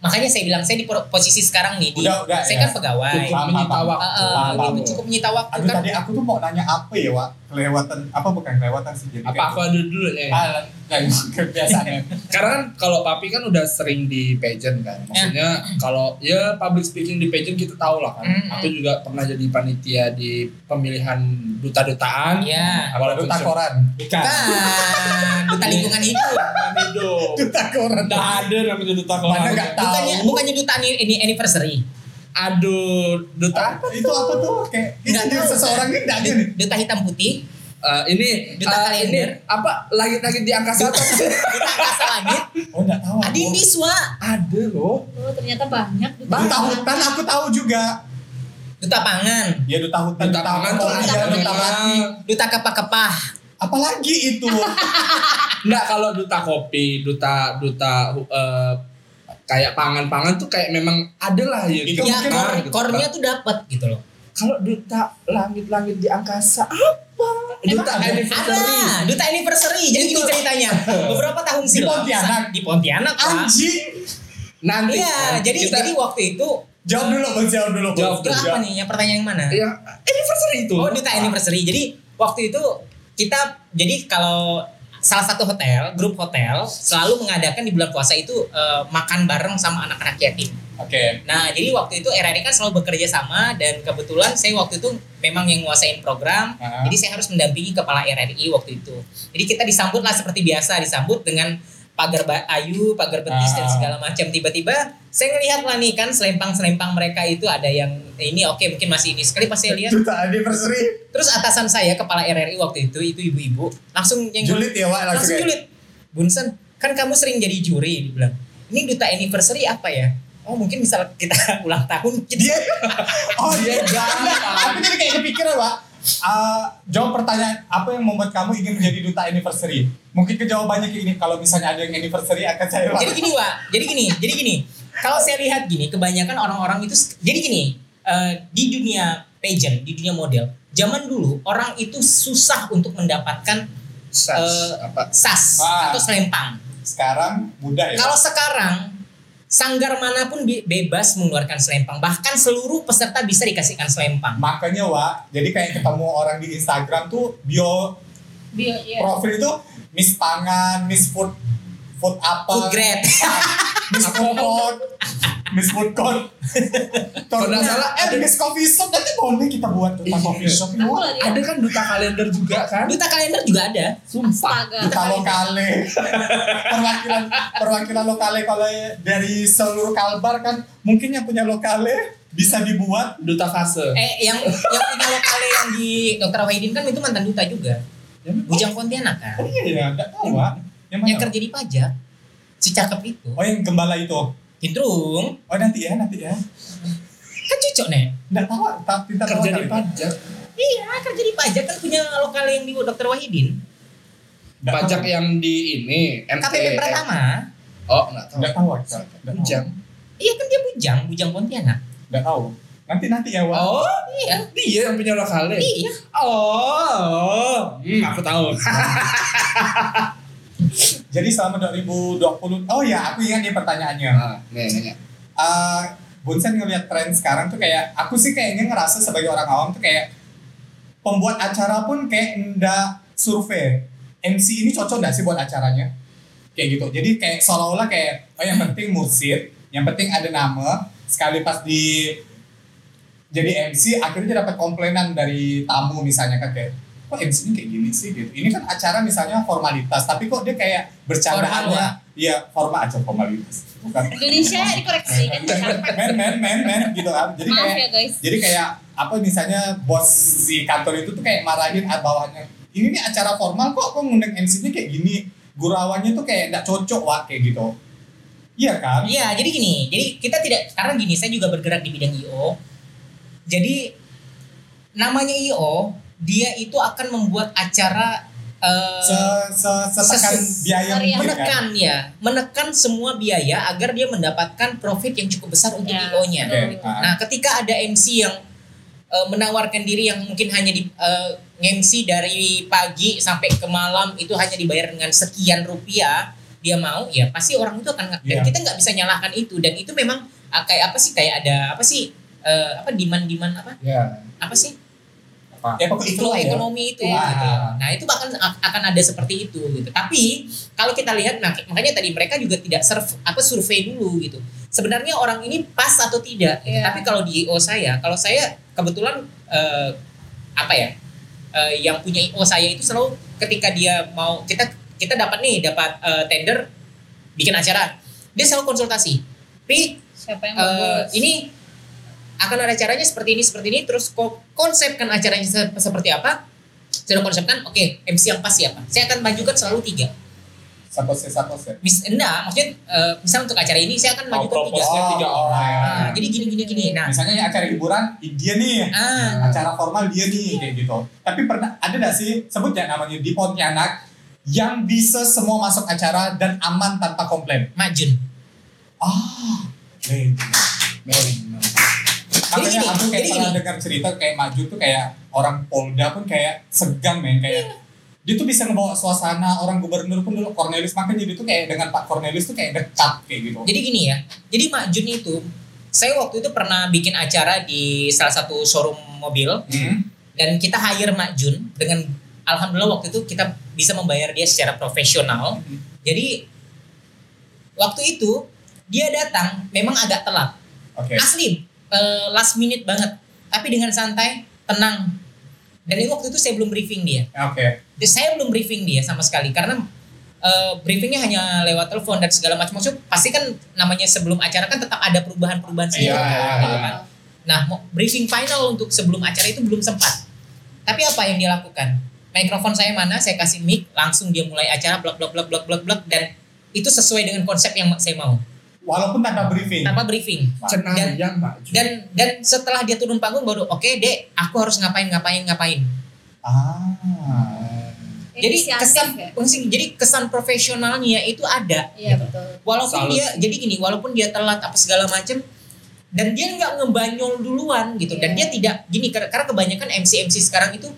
S4: makanya saya bilang saya di pro- posisi sekarang nih di
S2: Udah, udah,
S4: saya
S2: ya.
S4: kan pegawai.
S1: Cukup menyita
S4: Eh,
S1: waktu.
S4: eh,
S2: Paham,
S4: itu
S2: Bu.
S4: cukup menyita waktu
S2: Aduh
S4: kan.
S2: tadi aku tuh mau nanya apa ya, Wak? kelewatan apa bukan kelewatan sih jadi
S1: Apa aku
S2: kayak-
S1: adu dulu ya?
S2: Ah, kayak kebiasaannya
S1: Karena kan kalau papi kan udah sering di pageant
S4: Ya.
S1: kan. Maksudnya kalau ya public speaking di pageant kita tahu lah kan.
S4: Mm-mm.
S1: Aku juga pernah jadi panitia di pemilihan duta-dutaan.
S4: Iya.
S2: kalau
S1: Walaupun
S2: duta koran
S1: Bukan.
S4: Bukan. Duta
S2: Iya.
S4: lingkungan hidup.
S1: Bukan itu.
S5: Duta koran.
S1: Nggak ada namanya duta koran.
S5: Mana nggak tahu.
S4: Bukannya bukannya duta ani- ini anniversary.
S1: Aduh, duta.
S2: itu apa tuh kayak
S5: Ini dia seseorang ini enggak ada nih.
S4: Duta hitam putih.
S1: Eh, ini
S4: Duta
S1: eh, ini
S4: kalender.
S1: apa langit-langit di angkasa *laughs*
S4: Duta angkasa langit.
S2: oh nggak tahu aku.
S4: Adindiswa.
S1: ada loh
S3: Oh ternyata banyak. Duta
S2: Bang,
S5: Duta
S2: tahu.
S5: hutan aku tahu juga.
S4: Duta pangan.
S2: ya duta hutan
S1: duta pangan tuh
S2: koran,
S1: ada
S2: duta
S1: duta
S2: pangan.
S1: mati
S4: Duta kepah-kepah.
S5: Apalagi itu.
S1: Enggak kalau duta kopi, duta duta eh, kayak pangan-pangan tuh kayak memang ada lah ya.
S2: Itu
S4: Ya,
S2: mungkin
S4: kor-
S1: gitu.
S4: kornya tuh dapat gitu loh.
S1: Kalau duta langit-langit di angkasa apa? Duta
S4: Emang ada?
S1: anniversary.
S4: Ada, duta anniversary. Jadi gini ceritanya.
S2: *laughs*
S4: Beberapa tahun
S2: Di
S4: silam
S2: Pontianak.
S4: di Pontianak, Pak.
S2: anjing
S1: Nanti.
S4: Iya,
S1: kan,
S4: jadi
S1: kita,
S4: jadi waktu itu
S2: jawab dulu bos jawab dulu bos
S1: Jawab
S4: itu apa nih? Yang pertanyaan yang mana?
S1: ya anniversary itu.
S4: Oh, duta anniversary. Jadi waktu itu kita jadi kalau salah satu hotel, grup hotel selalu mengadakan di bulan puasa itu eh, makan bareng sama anak-anak yatim.
S2: oke
S4: Nah, jadi waktu itu RRI kan selalu bekerja sama dan kebetulan saya waktu itu memang yang nguasain program.
S2: Ah.
S4: Jadi saya harus mendampingi kepala RRI waktu itu. Jadi kita disambut lah seperti biasa, disambut dengan pagar ba- ayu, pagar betis
S2: Ah.
S4: dan segala macam. Tiba-tiba saya ngelihat lah nih kan selempang-selempang mereka itu ada yang eh, ini oke mungkin masih ini. Sekali pas saya lihat,
S5: Duta anniversary.
S4: terus atasan saya kepala RRI waktu itu itu ibu-ibu langsung yang
S5: Julid ya, Wak, langsung.
S4: langsung
S5: ya.
S4: julid Bunsen kan kamu sering jadi juri dibilang ini duta anniversary apa ya oh mungkin misal kita *laughs* ulang tahun
S5: Dia
S4: kita
S5: Oh, dia
S2: Enggak,
S5: jangan.
S2: iya. aku jadi kayak kepikiran pak Eh, jawab pertanyaan apa yang membuat kamu ingin menjadi duta anniversary mungkin ke jawabannya kayak ini kalau misalnya ada yang anniversary akan saya
S4: jadi gini wa jadi gini jadi gini kalau saya lihat gini kebanyakan orang-orang itu jadi gini eh, di dunia pageant di dunia model zaman dulu orang itu susah untuk mendapatkan
S1: Sas,
S4: Eh,
S1: apa?
S4: sas
S2: Ah.
S4: atau selempang
S2: sekarang mudah ya Pak?
S4: Kalau sekarang sanggar manapun bi- bebas mengeluarkan selempang, bahkan seluruh peserta bisa dikasihkan selempang.
S2: makanya Wak jadi kayak ketemu orang di Instagram tuh bio
S3: bio ya.
S2: profil itu miss pangan miss food food apa
S4: Food grade.
S2: miss food court miss food court
S1: Kalau nggak salah,
S2: eh
S1: ada-
S2: miss coffee shop nanti boleh kita buat tentang
S1: Iya.
S2: coffee shop
S3: Aku
S2: yuk
S3: lagi.
S1: Ada kan duta kalender juga kan?
S4: Duta kalender juga ada.
S1: Sumpah.
S3: Astaga.
S2: kita lokale perwakilan perwakilan lokale kalau dari seluruh Kalbar kan mungkin yang punya lokale bisa dibuat
S1: Duta fase.
S4: Eh yang yang punya lokale yang di Dr. Wahidin kan itu mantan duta juga. Bujang Pontianak kan.
S2: oh Ya, iya ya nggak tahu Wak yang
S4: Yang
S2: mana
S4: kerja di pajak. Secakep itu.
S2: oh yang gembala itu
S4: Hidrung.
S2: oh nanti ya nanti ya
S4: Kan cocok nih.
S2: nggak tahu Wak. tapi ntar
S1: Kerja
S2: tahu
S1: di
S2: kali.
S1: pajak.
S4: Iya kerja di pajak kan punya lokale yang di Dr. Wahidin.
S2: Nggak tahu.
S1: Pajak yang di ini
S2: Iya,
S4: KPP
S1: MTM.
S4: Pratama.
S1: Oh, enggak tahu.
S2: Nggak tahu, Wak. Nggak tahu.
S1: Jam.
S4: Iya kan dia Bujang. Bujang Pontianak.
S2: Nggak tahu. Nanti nanti ya, Wak.
S1: Oh,
S4: Iya.
S1: dia yang punya lokale.
S4: Iya.
S1: Oh, hmm, aku tahu.
S2: Jadi selama 2020, oh ya, aku ingat nih pertanyaannya.
S1: Ah, nih, nanya.
S2: Eh, Bunsen ngelihat tren sekarang tuh kayak, aku sih kayaknya ngerasa sebagai orang awam tuh kayak pembuat acara pun kayak ndak survei. MC ini cocok nggak sih buat acaranya? Kayak gitu. Jadi kayak seolah-olah kayak, oh yang penting musik, yang penting ada nama. Sekali pas di jadi MC akhirnya dia dapat komplainan dari tamu misalnya kan kayak kok MC ini kayak gini sih gitu ini kan acara misalnya formalitas tapi kok dia kayak
S4: Formal,
S2: bercandaannya iya formal aja formalitas bukan
S3: Indonesia dikoreksi kan capek.
S2: men men men men gitu kan jadi
S3: Maaf
S2: kayak
S3: ya guys.
S2: jadi kayak apa misalnya bos si kantor itu tuh kayak marahin ad bawahnya ini nih acara formal kok kok ngundang MC-nya kayak gini gurawannya tuh kayak nggak cocok wah kayak gitu iya kan
S4: Iya, jadi gini, jadi kita tidak sekarang gini, saya juga bergerak di bidang IO. Jadi namanya IO, dia itu akan membuat acara eh,
S2: se se setekan
S4: Ses-
S2: biaya
S3: Sorry ya.
S2: mungkin kan
S4: menekan ya, menekan semua biaya agar dia mendapatkan profit yang cukup besar untuk
S3: Ya.
S4: IO-nya.
S2: Oke, ah.
S4: Nah, ketika ada MC yang eh, menawarkan diri yang mungkin hanya di eh, MC dari pagi sampai ke malam itu hanya dibayar dengan sekian rupiah, dia mau ya pasti orang itu akan nge-
S2: Iya.
S4: dan kita nggak bisa nyalahkan itu dan itu memang ah, kayak apa sih kayak ada apa sih eh, apa demand demand apa
S1: Ya.
S4: apa sih
S2: Iya. apa ya pokoknya itu
S4: flow
S2: ya.
S4: ekonomi itu
S2: Wah.
S4: gitu. Nah, itu bahkan a- akan ada seperti itu gitu. Tapi kalau kita lihat nah, makanya tadi mereka juga tidak serv, apa survei dulu gitu. Sebenarnya orang ini pas atau tidak. gitu.
S3: Iya.
S4: Tapi kalau di IO saya, kalau saya kebetulan eh, apa ya? eh, yang punya IO saya itu selalu ketika dia mau kita kita dapat nih dapat eh, tender bikin acara. Dia selalu konsultasi. Pi,
S3: siapa yang
S4: Eh,
S3: bagus
S4: ini akan ada acaranya seperti ini seperti ini terus ko- konsepkan acaranya se- seperti apa sudah konsepkan oke MC yang pas siapa saya akan majukan selalu tiga
S2: satu set satu set
S4: mis enggak maksudnya eh, misal untuk acara ini saya akan
S1: Mau
S4: majukan tiga
S1: proposalnya tiga orang.
S4: Nah, jadi gini gini gini nah
S2: misalnya acara hiburan dia nih
S4: ah
S2: acara formal dia nih kayak gitu tapi pernah ada gak sih sebut ya namanya di Pontianak yang bisa semua masuk acara dan aman tanpa komplain
S4: majun
S2: ah Jadi
S4: gini,
S2: Makanya aku kayak
S4: jadi
S2: pernah
S4: gini.
S2: dengar cerita kayak maju tuh kayak orang Polda pun kayak segan men
S4: Iya.
S2: kayak dia tuh bisa ngebawa suasana orang gubernur pun dulu Cornelis makanya jadi tuh kayak dengan Pak Cornelis tuh kayak dekat kayak gitu.
S4: jadi gini ya jadi majun itu saya waktu itu pernah bikin acara di salah satu showroom mobil
S2: Hmm.
S4: dan kita hire Mak Jun dengan alhamdulillah waktu itu kita bisa membayar dia secara profesional.
S2: Hmm?
S4: Jadi waktu itu dia datang memang agak telat.
S2: Oke.
S4: Asli eh, last minute banget. Tapi dengan santai, tenang. Dan itu waktu itu saya belum briefing dia.
S2: Oke.
S4: Jadi saya belum briefing dia sama sekali karena eh, briefingnya hanya lewat telepon dan segala macam. Maksud pasti kan namanya sebelum acara kan tetap ada perubahan-perubahan
S2: Iya.
S4: sedikit, gitu kan. Nah, mau- briefing final untuk sebelum acara itu belum sempat. Tapi apa yang dia lakukan? Mikrofon saya mana? Saya kasih mic, langsung dia mulai acara blak blak blak blak blak blak dan itu sesuai dengan konsep yang saya mau.
S2: Walaupun tanpa briefing.
S4: Tanpa briefing. Dan-
S1: Cenayang Pak Ju.
S4: Dan dan setelah dia turun panggung baru oke, Dek, aku harus ngapain ngapain ngapain.
S2: Ah.
S4: Jadi
S3: Inisiatif
S4: kesan
S3: ya?
S4: jadi kesan profesionalnya itu ada.
S3: iya betul
S4: walaupun
S1: Salut.
S4: dia jadi gini walaupun dia telat apa segala macem dan dia nggak ngebanyol duluan gitu dan dia
S3: Iya.
S4: tidak gini kar- karena kebanyakan MC MC sekarang itu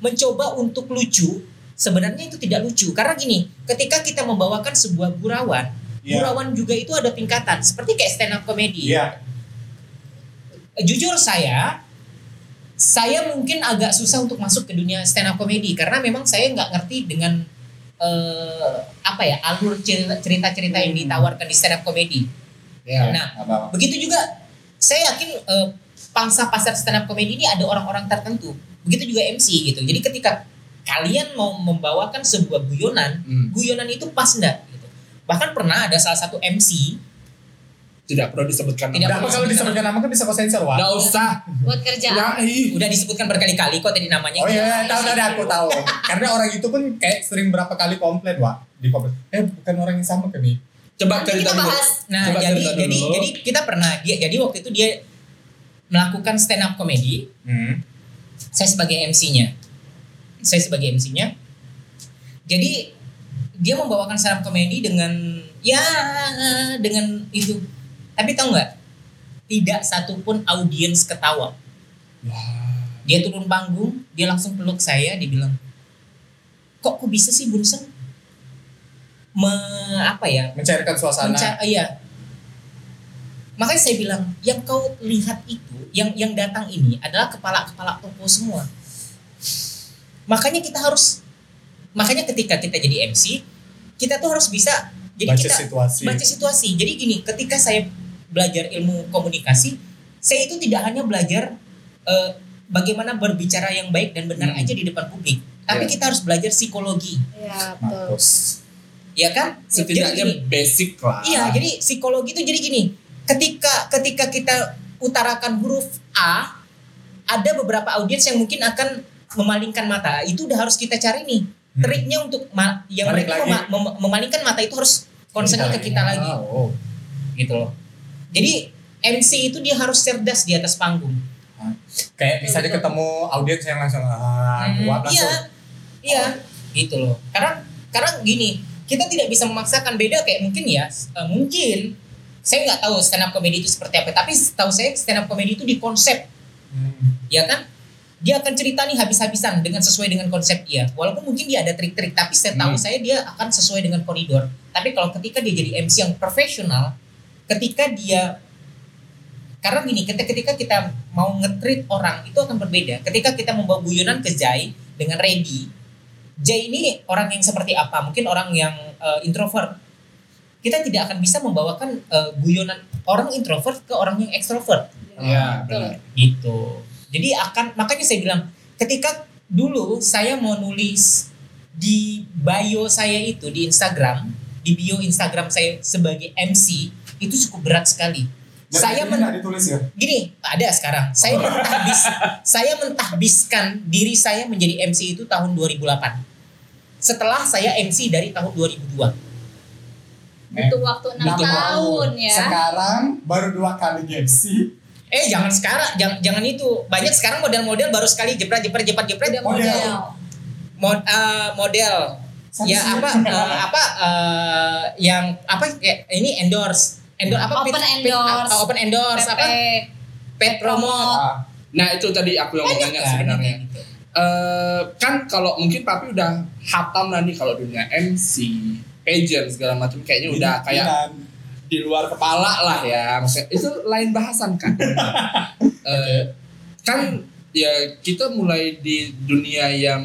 S4: mencoba untuk lucu sebenarnya itu tidak lucu karena gini ketika kita membawakan sebuah gurauan
S2: Iya.
S4: gurauan juga itu ada tingkatan seperti kayak stand up comedy Eh,
S2: Iya.
S4: jujur saya saya mungkin agak susah untuk masuk ke dunia stand up comedy karena memang saya nggak ngerti dengan eh, apa ya alur cerita- cerita-cerita yang
S2: Hmm.
S4: ditawarkan di stand up comedy.
S1: Ya.
S4: Nah,
S2: Apa -apa.
S4: begitu juga saya yakin eh, pangsa pasar stand up comedy ini ada orang-orang tertentu. Begitu juga MC gitu. Jadi ketika kalian mau membawakan sebuah guyonan,
S1: Hmm.
S4: guyonan itu pas enggak gitu. Bahkan pernah ada salah satu MC
S1: Tidak perlu disebutkan.
S4: Tidak
S1: nama.
S2: Nah, apa kalau disebutkan nama kan bisa kau sensor, Wak?
S1: Nggak usah.
S3: buat kerjaan
S1: Ya, ih.
S4: udah disebutkan berkali-kali kok tadi
S2: Oh
S4: namanya.
S2: iya,
S4: Gitu.
S2: tahu tahu aku tahu.
S4: *laughs*
S2: Karena orang itu pun kayak sering berapa kali komplain, Wak. Di komplain. Eh, bukan orang yang sama ke nih.
S1: Coba
S3: nanti
S1: cerita
S3: kita
S1: dulu.
S3: bahas
S4: Nah,
S1: Coba
S4: jadi
S1: cerita
S4: jadi
S1: dulu.
S4: jadi kita pernah dia jadi waktu itu dia melakukan stand up comedy
S2: Hmm.
S4: saya sebagai MC-nya. Saya sebagai MC-nya. Jadi dia membawakan stand up comedy dengan ya dengan itu. Tapi tahu nggak? Tidak satupun audiens ketawa. Dia turun panggung, dia langsung peluk saya, dia bilang, kok kok bisa sih Bunsen? Me, apa ya?
S2: Mencairkan suasana.
S4: Menca- iya. Makanya saya bilang, yang kau lihat itu, yang yang datang ini adalah kepala-kepala toko semua. Makanya kita harus makanya ketika kita jadi MC, kita tuh harus bisa jadi
S2: baca
S4: kita
S2: situasi.
S4: baca situasi. Jadi gini, ketika saya belajar ilmu komunikasi, saya itu tidak hanya belajar eh, bagaimana berbicara yang baik dan benar
S1: Hmm.
S4: aja di depan publik, tapi
S1: Iya.
S4: kita harus belajar psikologi,
S3: ya betul
S2: Mampus.
S4: ya kan? Jadi gini,
S1: Setidaknya basic lah.
S2: Nah.
S4: Iya, jadi psikologi itu jadi gini. Ketika ketika kita utarakan huruf A, ada beberapa audiens yang mungkin akan memalingkan mata. Itu udah harus kita cari nih.
S2: Hmm.
S4: Triknya untuk ma- yang
S2: Balik
S4: mereka
S2: lagi.
S4: mema- mem- memalingkan mata itu harus concernnya ke kita lagi,
S2: Oh.
S4: gitu loh. Jadi MC itu dia harus cerdas di atas panggung.
S2: Kayak bisa dia ketemu audiens yang langsung ah, buat
S4: Iya,
S2: langsung.
S4: iya, gitu loh. Karena karena gini, kita tidak bisa memaksakan beda kayak mungkin ya, s- eh, mungkin saya nggak tahu stand up comedy itu seperti apa, tapi tahu saya stand up comedy itu di konsep,
S2: Hmm.
S4: ya kan? Dia akan cerita nih habis-habisan dengan sesuai dengan konsep dia. Walaupun mungkin dia ada trik-trik, tapi saya tahu
S2: Hmm.
S4: saya dia akan sesuai dengan koridor. Tapi kalau ketika dia jadi MC yang profesional, ketika dia Karena gini, ketika ketika kita mau ngetrit orang itu akan berbeda. Ketika kita membawa guyonan ke Jai dengan Regi, Jai ini orang yang seperti apa? Mungkin orang yang eh, introvert. Kita tidak akan bisa membawakan eh, guyonan orang introvert ke orang yang ekstrovert
S1: Ya,
S6: Iya.
S3: Betul.
S4: gitu jadi akan makanya saya bilang ketika dulu saya mau nulis di bio saya itu di Instagram di bio Instagram saya sebagai MC itu cukup berat sekali
S6: Dan
S4: saya
S6: ini
S4: men
S6: nggak Oh. ditulis ya.
S4: gini ada sekarang saya mentahbis saya mentahbiskan diri saya menjadi MC itu tahun 2008 setelah saya MC dari tahun 2002
S3: butuh waktu enam
S6: Butuh
S3: tahun ya
S6: Sekarang baru dua kali MC.
S4: eh jangan sekarang jangan, jangan itu banyak sekarang model-model baru sekali jepret jepret jepret jepret
S3: udah
S6: Oh, iya.
S3: model
S4: mod, eh, model
S6: Satu
S4: ya
S6: sih.
S2: *laughs*
S4: apa eh, apa eh, yang apa ya, ini endorse endorse apa
S3: Open endorse.
S4: eh, open endorse apa
S3: PP.
S4: pet promote
S6: Ah,
S1: Nah itu tadi aku yang mau
S4: Banyak
S1: tanya
S4: kan,
S1: sebenarnya.
S4: kayak gitu.
S1: Eh, kan kalau mungkin papi udah hatam lah nih kalau dunia MC, pageant segala macam kayaknya udah
S4: Iya.
S1: kayak
S6: binan.
S1: di luar kepala lah ya maksudnya itu lain bahasan
S4: *laughs*
S1: kan Eh, kan ya kita mulai di dunia yang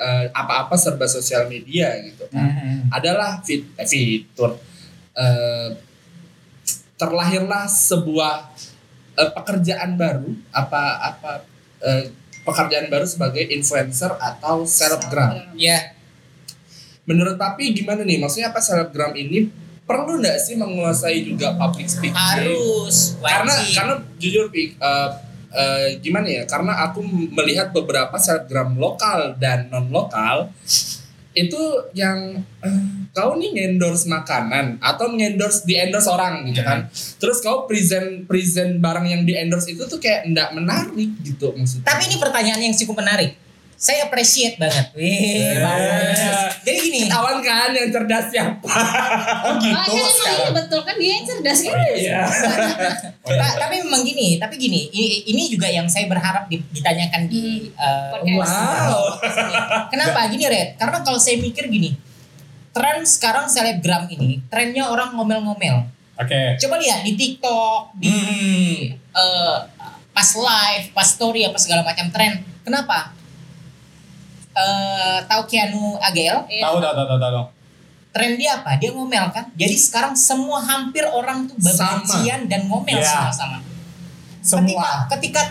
S1: eh, apa-apa serba sosial media gitu kan
S6: Mhm.
S1: adalah fit, eh, fitur eh, terlahirlah sebuah eh, pekerjaan baru apa apa eh, pekerjaan baru sebagai influencer atau selebgram
S4: ya
S1: Menurut Papi gimana nih? Maksudnya apa selebgram ini perlu nggak sih menguasai juga public speaking?
S4: harus
S1: Hmm. Karena
S4: wajib.
S1: karena jujur Pi, eh, eh, gimana ya? Karena aku melihat beberapa selebgram lokal dan non lokal itu yang eh, kau nih endorse makanan atau endorse di endorse orang gitu
S4: Hmm.
S1: kan. Terus kau present present barang yang di endorse itu tuh kayak nggak menarik gitu maksudnya.
S4: tapi ini pertanyaan yang cukup menarik saya appreciate
S1: Eh.
S4: banget Wih, bagus. jadi gini
S1: kawan kan yang cerdas siapa?
S6: Oh gitu
S3: makanya emang ini
S6: sekarang.
S3: iya, betul kan dia yang cerdas kan
S2: Iya.
S4: Ta- tapi memang gini tapi gini ini, ini juga yang saya berharap di- ditanyakan di eh,
S3: Hmm. Podcast.
S1: Wow.
S4: Kenapa gini Red? Karena kalau saya mikir gini, tren sekarang selebgram ini, trennya orang ngomel-ngomel.
S6: *laughs* Oke.
S4: Coba lihat di TikTok, di eh, pas live, pas story apa segala macam tren. Kenapa? Eh tahu Keanu AGL?
S3: Iya.
S6: Tahu tahu tahu tahu tahu.
S4: Tren dia apa? Dia ngomel kan? Jadi sekarang semua hampir orang tuh
S1: Sama.
S4: bebencian dan ngomel
S6: Iya.
S4: sama-sama.
S6: Semua.
S4: Ketika ketika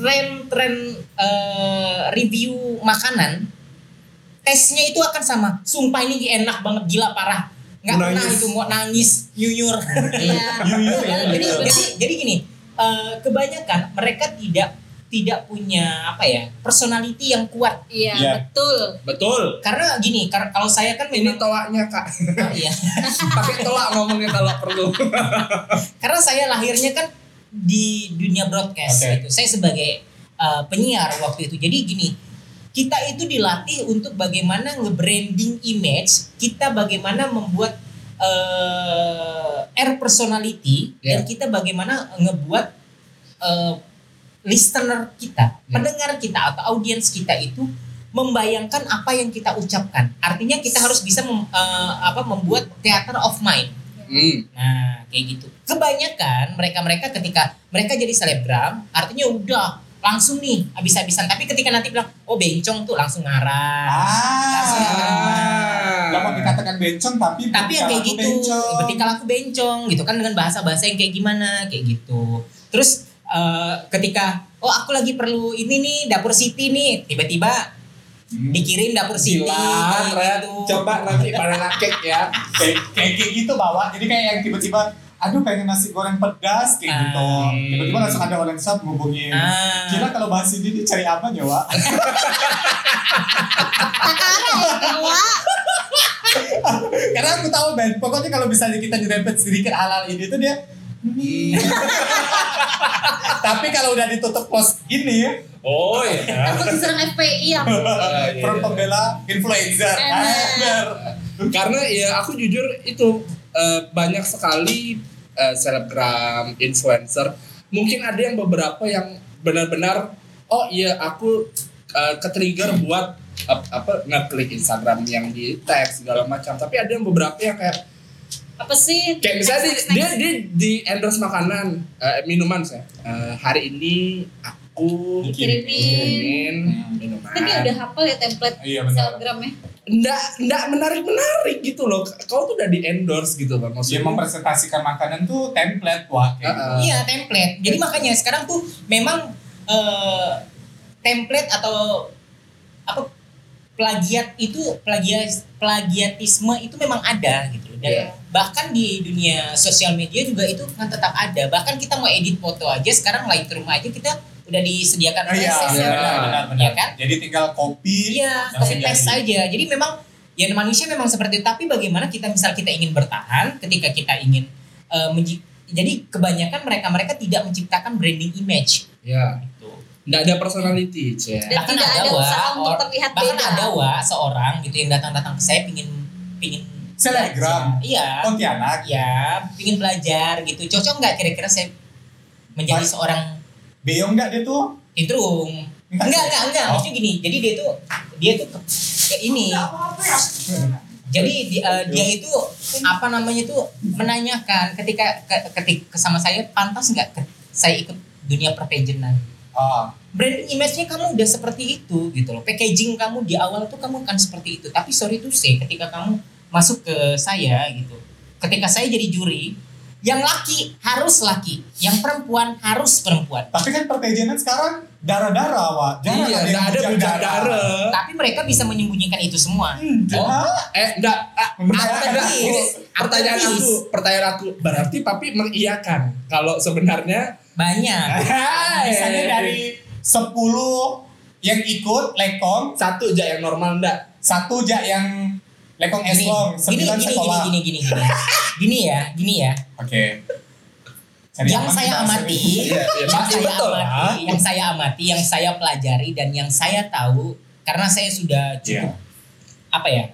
S4: tren-tren eh, review makanan tesnya itu akan sama. Sumpah ini enak banget gila parah. Nggak pernah
S1: Nangis.
S4: itu mau nangis, nyuyur.
S3: iya
S6: Yuyur ya.
S4: jadi,
S3: Benar.
S4: jadi, jadi gini, eh, kebanyakan mereka tidak tidak punya apa ya personality yang kuat.
S3: iya
S6: Iya.
S3: betul
S1: Betul.
S4: Karena gini, karena kalau saya kan
S1: ini
S4: memang
S1: toaknya kak *laughs*
S4: *laughs* iya.
S1: pakai toak ngomongnya kalau perlu
S4: karena saya lahirnya kan di dunia broadcast
S6: Oke.
S4: gitu. Saya sebagai uh, penyiar waktu itu. Jadi gini, kita itu dilatih untuk bagaimana nge-branding image, kita bagaimana membuat uh, air personality
S1: Yeah.
S4: dan kita bagaimana ngebuat uh, listener kita,
S1: Yeah.
S4: pendengar kita atau audiens kita itu membayangkan apa yang kita ucapkan. Artinya kita harus bisa mem- uh, apa membuat theater of mind.
S1: hmm.
S4: Nah, kayak gitu. Kebanyakan mereka-mereka ketika mereka jadi selebgram, artinya udah langsung nih habis-habisan. Tapi ketika nanti bilang, "Oh, bencong tuh," langsung ngarah.
S6: Ah.
S1: Ah.
S6: Gak mau dikatakan bencong tapi
S4: Tapi yang
S6: berkala
S4: kayak
S6: aku
S4: gitu,
S6: bencong.
S4: ketika laku bencong gitu kan dengan bahasa-bahasa yang kayak gimana, kayak gitu. Terus eh, ketika, "Oh, aku lagi perlu ini nih, dapur Siti nih." Tiba-tiba
S6: Hmm.
S4: dikirim dapur Siti.
S1: Silat,
S4: kayak
S1: Ren.
S4: gitu.
S1: coba nanti banana cake ya
S6: kayak kayak kayak gitu bawa jadi kayak yang tiba-tiba aduh pengen nasi goreng pedas kayak
S4: Ah.
S6: gitu tiba-tiba langsung ada orang sub ngubungin
S4: Ah.
S6: Gila kalau bahas ini nih cari apa ya Wak? *laughs*
S3: ya,
S6: Karena aku tahu Ben, pokoknya kalau misalnya kita nyerempet sedikit halal ini tuh dia "Hmm." Tapi kalau udah ditutup pos ini,
S1: oh *laughs* iya
S3: aku diserang FPI ya
S2: Iya,
S6: front pembela influencer.
S4: Iya.
S3: Enak.
S6: Ah, Bener.
S1: karena ya aku jujur itu eh, banyak sekali eh, selebgram influencer mungkin ada yang beberapa yang benar-benar oh iya aku ke trigger buat ap- apa ngeklik Instagram yang di tag segala macam tapi ada yang beberapa yang kayak
S3: apa sih
S1: Kayak misalnya
S3: next,
S1: dia,
S3: next, next?
S1: dia, dia di endorse makanan, eh, minuman saya. Eh, hari ini aku
S3: Dikirimin.
S1: dikirimin
S4: Hmm.
S1: minuman.
S3: kan dia udah hafal ya template ya.
S2: Iya, benar.
S3: selebgramnya
S1: Nggak, nggak menarik-menarik gitu loh. Kau tuh udah di endorse gitu kan
S2: Dia
S1: maksudnya.
S2: mempresentasikan makanan tuh template wah kayak gitu.
S1: Heeh.
S4: Iya template. Jadi makanya sekarang tuh memang eh, template atau apa plagiat itu plagiat plagiatisme itu memang ada gitu dan
S1: Iya.
S4: bahkan di dunia sosial media juga itu kan tetap ada bahkan kita mau edit foto aja sekarang Lightroom aja kita udah disediakan
S2: Oh, iya,
S4: proses. ya.
S1: iya.
S2: benar, benar, benar.
S4: Iya kan?
S2: Jadi tinggal kopi.
S4: Iya,
S2: langsung
S4: copy paste
S2: jadi.
S4: aja. Jadi memang ya manusia memang seperti itu. Tapi bagaimana kita misal kita ingin bertahan ketika kita ingin eh, menji- jadi kebanyakan mereka-mereka tidak menciptakan branding image
S1: Ya,
S4: gitu.
S1: nggak ada personality, Cek.
S3: dan
S4: Bahkan
S3: tidak
S4: ada,
S3: ada
S4: Wak,
S3: usaha untuk
S4: or-
S3: terlihat
S4: Bahkan
S3: beda *laughs*
S4: ada wa seorang gitu yang datang-datang ke saya pingin pingin
S2: Selebgram.
S4: Iya.
S2: Pontianak.
S4: Ya, pingin belajar gitu. Cocok nggak kira-kira saya menjadi
S2: Mas-
S4: seorang
S2: Beyong nggak dia tuh?
S4: Tintrung? Enggak, enggak, enggak.
S2: Oh.
S4: Maksudnya gini, jadi dia tuh dia tuh ke- ke ini jadi di- eh, dia itu apa namanya tuh menanyakan ketika ke- ketika sama saya pantas nggak ke- saya ikut dunia perpejenan
S2: Oh,
S4: branding image-nya kamu udah seperti itu gitu loh packaging kamu di awal tuh kamu akan seperti itu tapi sorry to say ketika kamu masuk ke saya gitu ketika saya jadi juri yang laki harus laki yang perempuan harus perempuan
S2: tapi kan perpejenan sekarang darah-darah, Wak.
S1: Iya,
S2: Jarang yang
S1: nggak ada
S2: bujang
S1: bujang darah.
S4: tapi mereka bisa menyembunyikan itu semua
S2: Enggak.
S1: Eh, enggak. ah,
S2: Membahayakan
S1: pertanyaan aku,
S4: Artis.
S1: pertanyaan
S4: Artis.
S1: aku, pertanyaan aku. Berarti papi mengiyakan kalau sebenarnya
S4: banyak
S2: Nah, Misalnya dari 10 yang ikut lekong,
S1: satu aja yang normal enggak?
S2: satu aja yang lekong eslong,
S4: gini
S2: sembilan
S4: gini gini
S2: Eh, sekolah.
S4: gini gini gini gini ya gini ya
S2: Oke. Cari
S4: yang
S2: aman
S4: saya
S2: kita *laughs*
S4: amati,
S2: sering.
S1: Iya, iya,
S4: yang
S1: pasti
S4: saya
S1: betul
S4: amati,
S1: lah.
S4: yang saya amati, yang saya pelajari dan yang saya tahu karena saya
S2: Iya.
S4: sudah cukup apa ya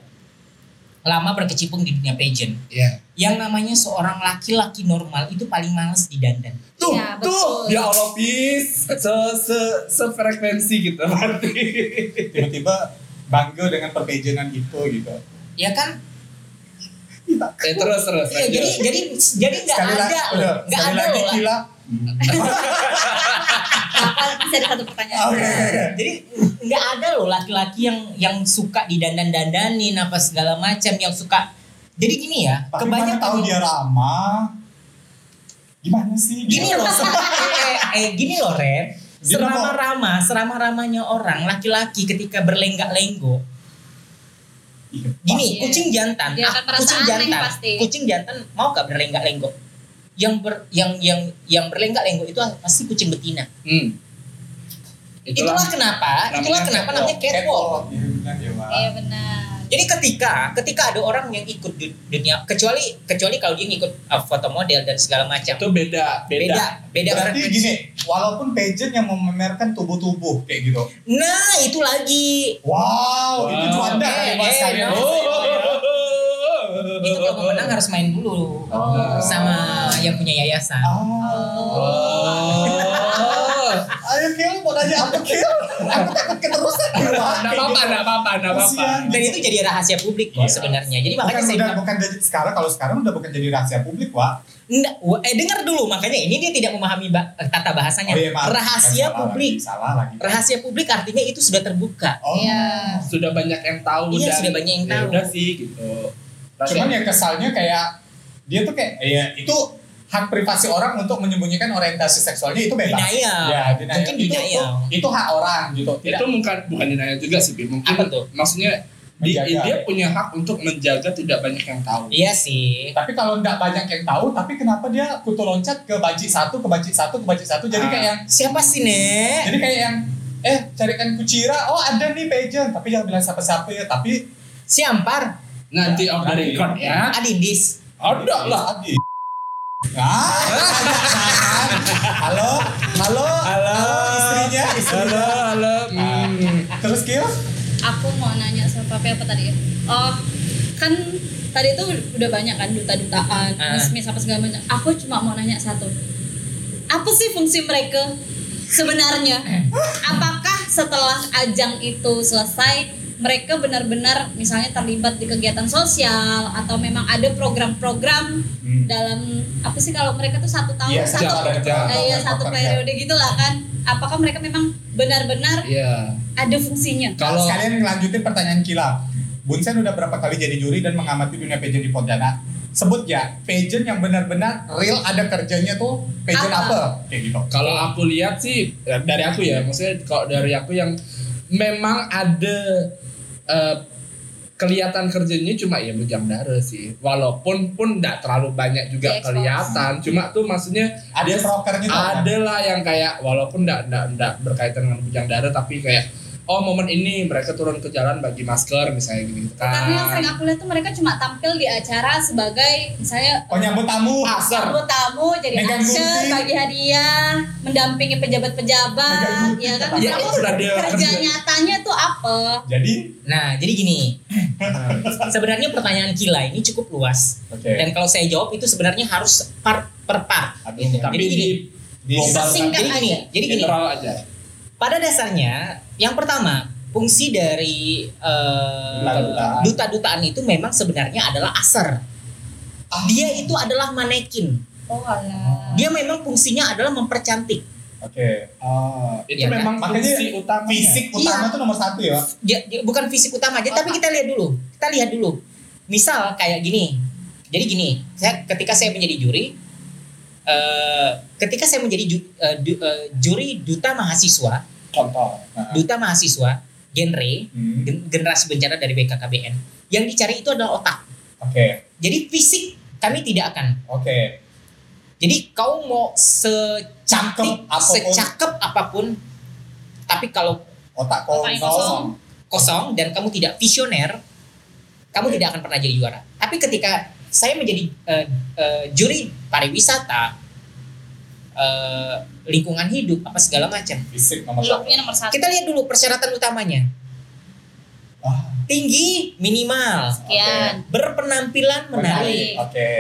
S4: lama berkecimpung di dunia pageant.
S1: Iya.
S4: Yang namanya seorang laki-laki normal itu paling males di dandan.
S1: Tuh,
S3: Iya,
S1: tuh,
S3: betul.
S1: ya Allah, bis se se sefrekuensi gitu berarti.
S2: Tiba-tiba bangga dengan perpejenan itu gitu.
S4: Ya kan?
S1: Eh, terus terus.
S4: Iya, jadi jadi jadi nggak
S2: Sekali lagi,
S4: ada
S2: udah,
S4: loh, nggak
S2: sekali
S4: ada
S2: lagi
S4: loh. *laughs*
S2: gila.
S3: apa bisa ada satu pertanyaan
S2: Oke.
S4: Jadi nggak ada loh laki-laki yang yang suka didandan-dandanin apa segala macam yang suka. Jadi gini ya,
S2: Tapi mana
S4: kebanyakan
S2: tahu dia ramah. Gimana sih?
S4: gini loh se- eh, eh, gini loh Ren
S2: Dia mau-
S4: serama rama serama ramanya orang laki-laki ketika berlenggak lenggo
S2: Iya.
S3: Iya.
S4: gini kucing jantan
S3: Dia akan
S4: ah,
S3: merasa
S4: kucing
S3: aneh
S4: jantan
S3: pasti.
S4: kucing jantan mau gak berlenggak lenggo yang ber yang yang yang berlenggak lenggo itu pasti kucing betina
S1: Hmm.
S4: itulah,
S1: Itulah.
S4: kenapa
S1: namanya
S4: itulah kenapa
S1: catwalk.
S4: namanya catwalk
S2: Catwalk. Iya, benar ya, Wak.
S3: iya benar
S4: Jadi ketika ketika ada orang yang ikut du- dunia kecuali kecuali kalau dia ngikut uh, foto model dan segala macam
S1: Itu beda, beda.
S4: beda beda
S2: Berarti
S4: frekuensi.
S2: gini, walaupun pageant yang memamerkan tubuh-tubuh kayak gitu.
S4: nah itu lagi
S2: Wow, Oh, itu
S1: Wow.
S2: Juanda
S4: Eh,
S2: Mas
S4: eh,
S2: Kalian.
S4: no. itu kalau mau menang harus main dulu
S1: Oh.
S4: sama yang Oh. punya yayasan
S2: Ah.
S1: Oh.
S2: Ayo Kil, mau nanya apa Kil? Aku takut keterusan di rumah.
S1: Enggak apa-apa, enggak apa-apa, enggak apa-apa.
S2: Kasihan.
S4: dan itu jadi rahasia publik kok
S1: Iya.
S4: sebenarnya jadi
S2: Bukan
S4: makanya saya
S2: Kan udah
S4: bilang,
S2: bukan jadi sekarang kalau sekarang udah bukan jadi rahasia publik, Wak.
S4: "Nggak, wa- eh dengar dulu makanya ini dia tidak memahami ba- tata bahasanya
S2: iya, maaf.
S4: rahasia
S2: Salah
S4: publik
S2: Lagi, salah lagi.
S4: rahasia publik artinya itu sudah terbuka
S2: Oh.
S3: iya
S1: Sudah banyak yang tahu dan
S4: Iya, sudah banyak yang
S1: ya
S4: tahu.
S1: Udah sih gitu. Tapi-
S2: Cuman ya kesalnya kayak dia tuh kayak ya itu hak privasi orang untuk menyembunyikan orientasi seksualnya itu bebas.
S4: denial
S2: Ya, denial.
S4: mungkin
S2: itu,
S4: denial
S2: itu, itu hak orang gitu. Tidak
S1: itu bukan bukan denial juga sih, Bi. mungkin
S4: Apa tuh?
S1: maksudnya di,
S2: Menjaga.
S1: dia punya hak untuk menjaga tidak banyak yang tahu.
S4: iya sih
S2: Tapi kalau nggak banyak yang tahu, tapi kenapa dia kutu loncat ke banci satu, ke banci satu, ke banci satu, jadi
S1: Ah.
S2: kayak yang,
S4: siapa sih nek
S2: jadi kayak yang, eh carikan kucira, oh ada nih pageant, tapi jangan bilang siapa-siapa ya, tapi
S4: si Ampar
S1: Nanti off the
S2: Nanti.
S1: record ya.
S4: Adindis
S1: Ada lah.
S2: lagi.
S6: *laughs*
S2: Ah, halo, halo,
S1: Halo.
S2: istrinya, istrinya.
S1: Halo, halo. Hmm.
S2: Terus Gil?
S3: aku mau nanya sama papi apa tadi ya oh kan tadi itu udah banyak kan duta-dutaan
S4: Ah.
S3: bisnis apa segala macam aku cuma mau nanya satu apa sih fungsi mereka sebenarnya apakah setelah ajang itu selesai mereka benar-benar misalnya terlibat di kegiatan sosial atau memang ada program-program dalam apa sih kalau mereka tuh satu tahun
S6: Iya,
S3: Hmm. satu
S1: jam kerja.
S3: eh, iya, satu periode gitulah kan apakah mereka memang benar-benar
S1: Iya.
S3: ada fungsinya
S1: Kalau
S6: sekalian lanjutin pertanyaan Kila. Bunsen udah berapa kali jadi juri dan mengamati dunia pageant di Pontianak? Sebut ya, pageant yang benar-benar real ada kerjanya tuh pageant apa?
S3: Apa?
S6: Kayak gitu.
S1: kalau aku lihat sih dari aku ya, maksudnya kalau dari aku yang memang ada eh, kelihatan kerjanya cuma ya jam dare sih. Walaupun pun enggak terlalu banyak juga
S3: Di expose.
S1: kelihatan, cuma tuh maksudnya
S6: Ada
S1: dia
S6: prokernya tuh.
S1: ada lah yang kayak walaupun enggak enggak, enggak berkaitan dengan bujang dara tapi kayak oh momen ini mereka turun ke jalan bagi masker misalnya gitu kan
S3: karena yang sering aku lihat tuh mereka cuma tampil di acara sebagai misalnya
S6: Penyambut Oh, tamu.
S1: pasar
S3: tamu tamu jadi
S6: Megang
S3: usher
S6: gunting.
S3: bagi hadiah mendampingi
S6: Megang
S3: pejabat
S6: gunting.
S3: ya kan
S1: Ya,
S3: Maksudnya
S1: itu ada
S3: kerja
S1: kerja.
S3: nyatanya tuh apa
S6: Jadi,
S4: Nah, jadi gini.
S1: Nah,
S4: sebenarnya pertanyaan Kila ini cukup luas.
S6: oke.
S4: Dan kalau saya jawab itu sebenarnya harus part per part.
S6: Aduh,
S4: gitu.
S1: tapi
S4: Jadi
S1: di,
S4: gini,
S1: di global
S3: Sesingkat
S1: tapi
S4: jadi gini,
S3: aja.
S4: jadi gini.
S1: general aja
S4: Pada dasarnya, yang pertama, fungsi dari eh,
S6: Duta-dutaan.
S4: duta-dutaan itu memang sebenarnya adalah aser. Dia itu adalah manekin.
S3: oh alah
S4: Dia memang fungsinya adalah mempercantik.
S6: Oke. Ah,
S1: itu
S4: Iya,
S1: memang
S6: kan?
S1: fungsi
S6: Makanya
S1: utamanya
S6: fisik utama tuh nomor satu ya.
S4: Dia, dia- bukan fisik utama aja, tapi kita lihat dulu. Kita lihat dulu. Misal kayak gini. Jadi gini, saya ketika saya menjadi juri, eh, ketika saya menjadi ju- eh, du- eh, juri duta mahasiswa,
S6: Contoh. Nah.
S4: duta mahasiswa genre
S6: Hmm, Oke.
S4: gen- generasi bencana dari BKKBN. Yang dicari itu adalah otak. Jadi fisik kami tidak akan.
S6: Oke.
S4: Jadi kau mau secantik,
S6: Cakep apapun.
S4: secakep apapun, tapi kalau
S6: Otak kosong.
S3: Otaknya kosong.
S4: kosong dan kamu tidak visioner, kamu tidak akan pernah jadi juara. Tapi ketika saya menjadi eh, eh, juri pariwisata, eh, lingkungan hidup apa segala macam,
S6: Fisik nomor
S4: Iya.
S6: satu.
S3: looknya nomor satu
S4: kita lihat dulu persyaratan utamanya.
S6: Ah,
S4: Tinggi minimal,
S3: sekian
S4: berpenampilan menarik.
S6: menarik. Oke.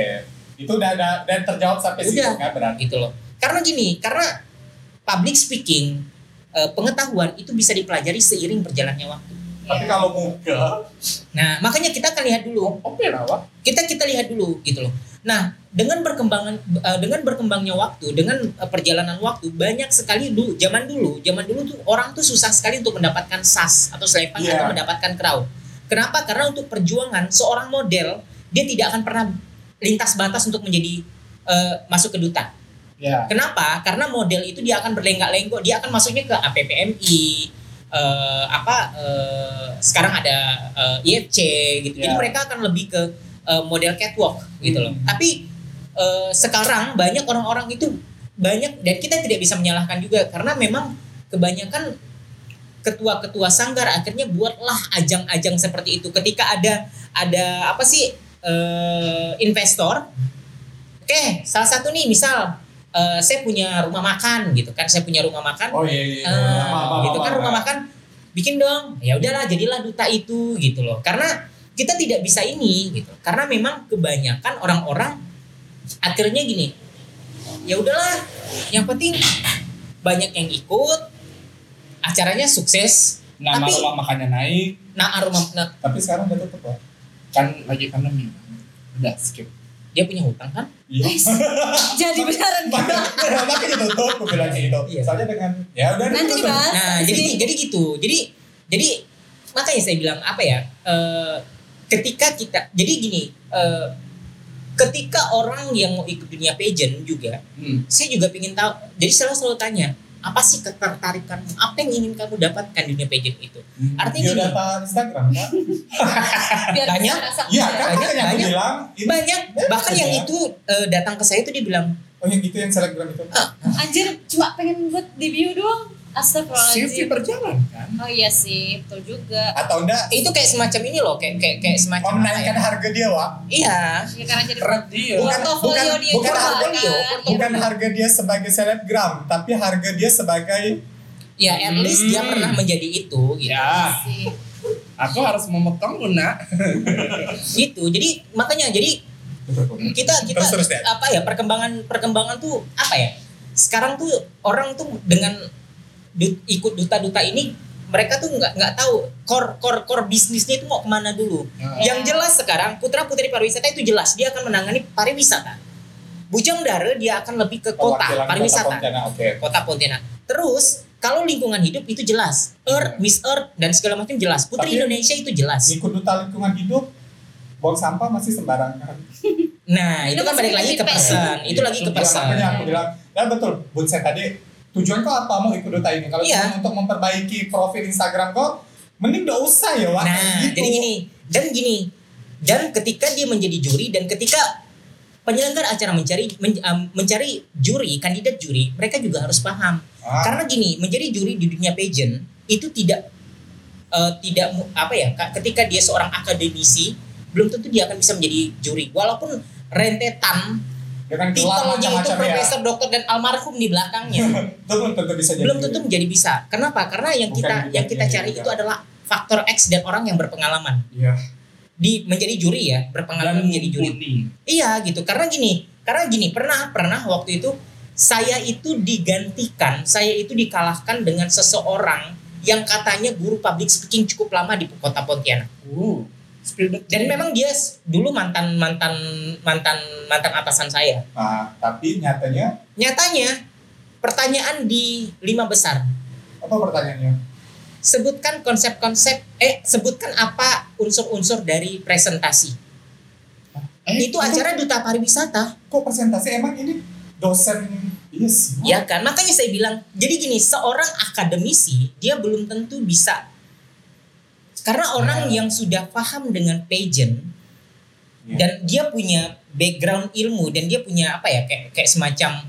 S6: Itu udah udah dan terjawab sampai
S4: Udah.
S6: situ kan berarti.
S4: gitu loh. Karena gini, karena public speaking eh, pengetahuan itu bisa dipelajari seiring berjalannya waktu.
S6: Tapi
S3: Ya.
S6: kalau muka,
S4: Nah, makanya kita akan lihat dulu.
S6: oke lah Wak.
S4: Kita kita lihat dulu gitu loh. Nah, dengan perkembangan eh, dengan berkembangnya waktu, dengan eh, perjalanan waktu, banyak sekali dulu zaman dulu, zaman dulu tuh orang tuh susah sekali untuk mendapatkan sas atau selepan
S6: Iya.
S4: atau mendapatkan crowd. Kenapa? Karena untuk perjuangan seorang model dia tidak akan pernah lintas batas untuk menjadi eh, masuk ke duta.
S6: Ya.
S4: Kenapa? Karena model itu dia akan berlenggak-lenggok, dia akan masuknya ke APPMI, eh, apa eh, sekarang ada eh, IFC gitu. Jadi
S6: Ya.
S4: mereka akan lebih ke eh, model catwalk gitu loh. Tapi eh, sekarang banyak orang-orang itu banyak dan kita tidak bisa menyalahkan juga karena memang kebanyakan ketua-ketua sanggar akhirnya buatlah ajang-ajang seperti itu. Ketika ada ada apa sih eh, investor? Oke, salah satu nih misal eh, saya punya rumah makan gitu kan, saya punya rumah makan
S6: Oh iya iya.
S4: Ah,
S6: Apa, apa,
S4: gitu
S6: apa,
S4: kan
S6: apa.
S4: rumah makan bikin dong ya udahlah jadilah duta itu gitu loh karena kita tidak bisa ini gitu karena memang kebanyakan orang-orang akhirnya gini ya udahlah yang penting banyak yang ikut acaranya sukses
S1: nama
S4: Tapi-
S1: rumah makannya naik
S4: nah aroma nah,
S6: Tapi sekarang udah tutup Wak.
S1: kan lagi pandemi udah skip
S4: dia punya hutang kan
S6: Iya. *laughs*
S3: jadi beneran
S6: Makanya makanya tutup aku bilang kayak gitu.
S4: Iya.
S6: Soalnya dengan ya udah
S3: nanti
S6: tutup.
S3: dibahas
S4: nah
S3: Abis
S4: jadi
S3: ini.
S4: jadi gitu jadi jadi makanya saya bilang apa ya eh, ketika kita jadi gini eh, ketika orang yang mau ikut dunia pageant juga
S1: hmm.
S4: saya juga ingin tahu jadi selalu selalu tanya apa sih ketertarikanmu apa yang ingin kamu dapatkan di dunia pageant itu
S2: Hmm,
S4: Artinya
S6: Dia
S4: gini.
S6: udah tahan Instagram
S4: *laughs*
S6: kan?
S3: biar
S4: Tanya?
S3: bisa terasa.
S6: Iya kan
S4: Banyak,
S6: makanya aku
S4: banyak.
S6: bilang ini-
S4: banyak bahkan yang
S6: Iya.
S4: itu eh, datang ke saya itu dia bilang
S6: Oh yang gitu yang selebgram itu.
S3: anjir cuma pengen buat di bio doang
S1: CV
S3: astagfirullahaladzim
S1: berjalan kan
S3: oh iya sih betul juga
S6: Atau enggak
S4: itu kayak semacam ini loh kayak kayak, kayak semacam
S6: mau
S4: Iya, apa ya?
S2: kan?
S6: menaikkan harga dia, Wak.
S4: iya
S3: ya karena jadi
S1: keren dia
S6: Bukan-
S3: portofolio
S6: bukan-
S3: dia
S6: bukan
S3: juga
S6: harga
S4: dia, iya.
S3: kan.
S6: Bukan harga dia sebagai selebgram, tapi harga dia sebagai
S4: ya at least dia
S1: Hmm.
S4: pernah menjadi itu gitu
S1: ya
S3: Iya sih.
S1: aku harus memotong lu nak
S4: gitu jadi makanya jadi kita kita
S6: Terus, terus, Dad.
S4: apa ya perkembangan perkembangan tuh apa ya sekarang tuh orang tuh dengan du- ikut duta-duta ini mereka tuh nggak nggak tahu core core core bisnisnya itu mau kemana dulu.
S6: Hmm.
S2: Ya.
S4: Yang jelas sekarang putra putri pariwisata itu jelas dia akan menangani pariwisata. Bujang Dara dia akan lebih ke kota
S6: Perwakilan
S4: pariwisata.
S6: Pontianak, Oke.
S4: kota Pontianak. Terus kalau lingkungan hidup itu jelas, Earth, Miss Earth dan segala macam jelas. Putri
S6: Hmm. Tapi-
S4: Indonesia itu jelas.
S6: Ngikut duta lingkungan hidup, buang sampah masih kan? sembarangan.
S4: Nah itu
S3: Itu
S4: kan
S3: masih
S4: balik lagi ke
S3: ketipe.
S4: pesan, itu lagi ke
S6: Tujuan Iya, Makanya
S4: pesan.
S6: aku bilang, nah betul, Bunsen tadi tujuan kau apa mau ikut duta ini? Kalau
S4: Iya.
S6: cuma untuk memperbaiki profil Instagram kau, mending gak usah ya, Wak.
S4: Nah
S6: Gitu.
S4: jadi gini dan gini dan ketika dia menjadi juri dan ketika penyelenggara acara mencari men- eh, mencari juri kandidat juri mereka juga harus paham
S6: Ah,
S4: Karena gini, menjadi juri di dunia pageant itu tidak eh, tidak mu- apa ya, Kak, ketika dia seorang akademisi belum tentu dia akan bisa menjadi juri. Walaupun rentetan
S6: dengan gelar
S4: titelnya itu
S6: kan macam-macam ya.
S4: profesor, dokter dan almarhum di
S6: *laughs*
S4: belakangnya
S6: Itu belum tentu bisa jadi.
S4: belum tentu menjadi bisa. Kenapa? Karena yang
S6: Bukan
S4: kita
S6: juga
S4: yang kita
S6: dia
S4: cari
S6: juga.
S4: itu adalah faktor X dan orang yang berpengalaman
S6: Iya.
S4: di menjadi juri ya, berpengalaman menjadi juri. Iya gitu. Karena gini, karena gini, pernah pernah waktu itu saya itu digantikan, saya itu dikalahkan dengan seseorang yang katanya guru public speaking cukup lama di kota Pontianak.
S1: Uh, Spielberg.
S4: Dan memang dia s- dulu mantan mantan mantan mantan atasan saya.
S6: Nah, tapi nyatanya
S4: Nyatanya pertanyaan di lima besar.
S6: apa pertanyaannya?
S4: Sebutkan konsep-konsep eh sebutkan apa unsur-unsur dari presentasi.
S1: Eh,
S4: itu acara duta pariwisata.
S6: Kok presentasi emang ini dosen iya sih.
S4: Ya kan, makanya saya bilang, jadi gini, seorang akademisi dia belum tentu bisa. Karena orang yang sudah paham dengan pageant
S6: Ya.
S4: dan dia punya background ilmu dan dia punya apa ya kayak kayak semacam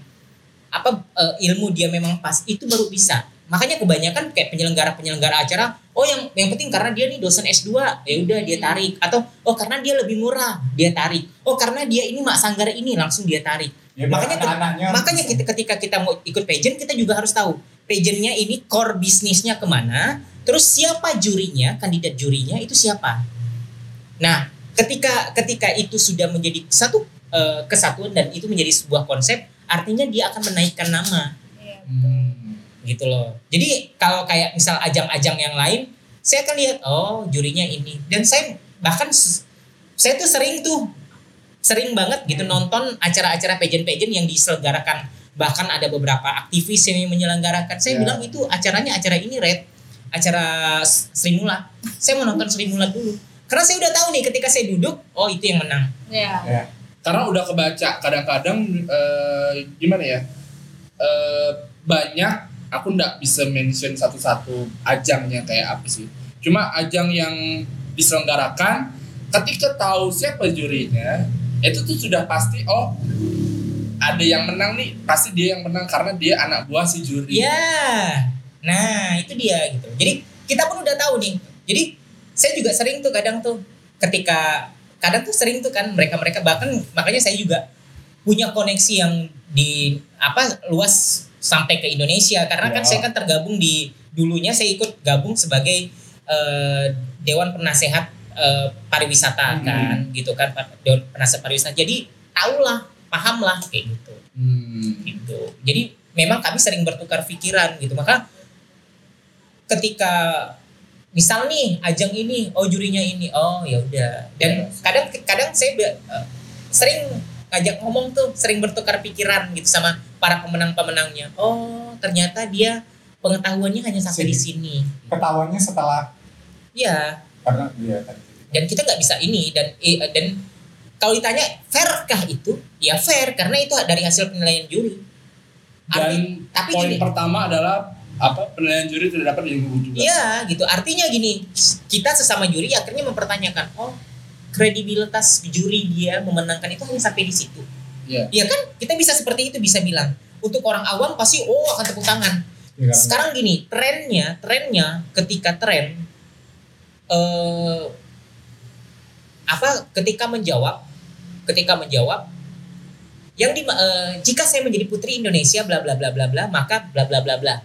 S4: apa eh, ilmu dia memang pas itu baru bisa. Makanya kebanyakan kayak penyelenggara-penyelenggara acara, oh yang yang penting karena dia nih dosen S2, ya udah dia tarik atau oh karena dia lebih murah, dia tarik. Oh karena dia ini mak sanggar ini langsung dia tarik.
S6: Ya,
S4: makanya
S6: biar anak-anaknya
S4: Makanya
S6: bisa.
S4: gitu. kita, ketika kita mau ikut pageant kita juga harus tahu pageantnya ini core bisnisnya kemana, terus siapa jurinya, kandidat jurinya itu siapa. Nah, ketika ketika itu sudah menjadi satu eh, kesatuan dan itu menjadi sebuah konsep, artinya dia akan menaikkan nama
S3: Iya.
S1: Hmm.
S4: gitu loh. Jadi kalau kayak misal ajang-ajang yang lain, saya akan lihat oh jurinya ini dan saya bahkan s- saya tuh sering tuh sering banget gitu nonton acara-acara pageant-pageant yang diselenggarakan bahkan ada beberapa aktivis yang menyelenggarakan. Saya
S6: Ya.
S4: bilang itu acaranya acara ini red acara S- Sri Mula. Saya mau nonton Sri Mula dulu. Karena saya udah tahu nih ketika saya duduk, oh itu yang menang.
S3: Iya.
S1: karena udah kebaca kadang-kadang eh, gimana ya eh, banyak aku nggak bisa mention satu-satu ajangnya kayak apa sih cuma ajang yang diselenggarakan ketika tahu siapa jurinya itu tuh sudah pasti oh ada yang menang nih pasti dia yang menang karena dia anak buah si juri
S4: Ya, nah itu dia gitu. Jadi kita pun udah tahu nih. Jadi saya juga sering tuh kadang tuh ketika kadang tuh sering tuh kan mereka-mereka bahkan makanya saya juga punya koneksi yang di apa luas sampai ke Indonesia karena kan
S6: Ya.
S4: saya kan tergabung di dulunya saya ikut gabung sebagai eh, dewan penasehat eh, pariwisata
S6: Hmm.
S4: kan gitu kan pa- dewan penasehat pariwisata. Jadi tahulah, pahamlah kayak gitu
S1: Hmm.
S4: gitu. Jadi memang kami sering bertukar pikiran gitu. Maka ketika misal nih ajang ini, oh jurinya ini, oh ya udah.
S1: Iya,
S4: Dan kadang kadang saya be- eh, sering ngajak ngomong tuh, sering bertukar pikiran gitu sama para pemenang-pemenangnya. Oh, ternyata dia pengetahuannya hanya sampai di sini.
S6: Ketahuannya setelah
S4: Iya,
S6: karena dia tadi.
S4: dan kita nggak bisa ini dan eh, eh, dan kalau ditanya fairkah itu? Ya fair karena itu dari hasil penilaian juri. Arti-
S1: dan
S4: tapi
S1: poin
S4: gini-
S1: pertama adalah apa penilaian juri tidak dapat diganggu juga
S4: Iya gitu. Artinya gini, kita sesama juri akhirnya mempertanyakan, oh kredibilitas juri dia memenangkan itu hanya sampai di situ.
S1: Iya.
S4: Iya kan? Kita bisa seperti itu bisa bilang. Untuk orang awam pasti oh akan tepuk tangan.
S6: Iya.
S2: kan?
S4: Sekarang gini, trennya, trennya ketika tren eh apa ketika menjawab, ketika menjawab yang di eh, jika saya menjadi putri Indonesia bla bla bla bla bla maka bla bla bla bla.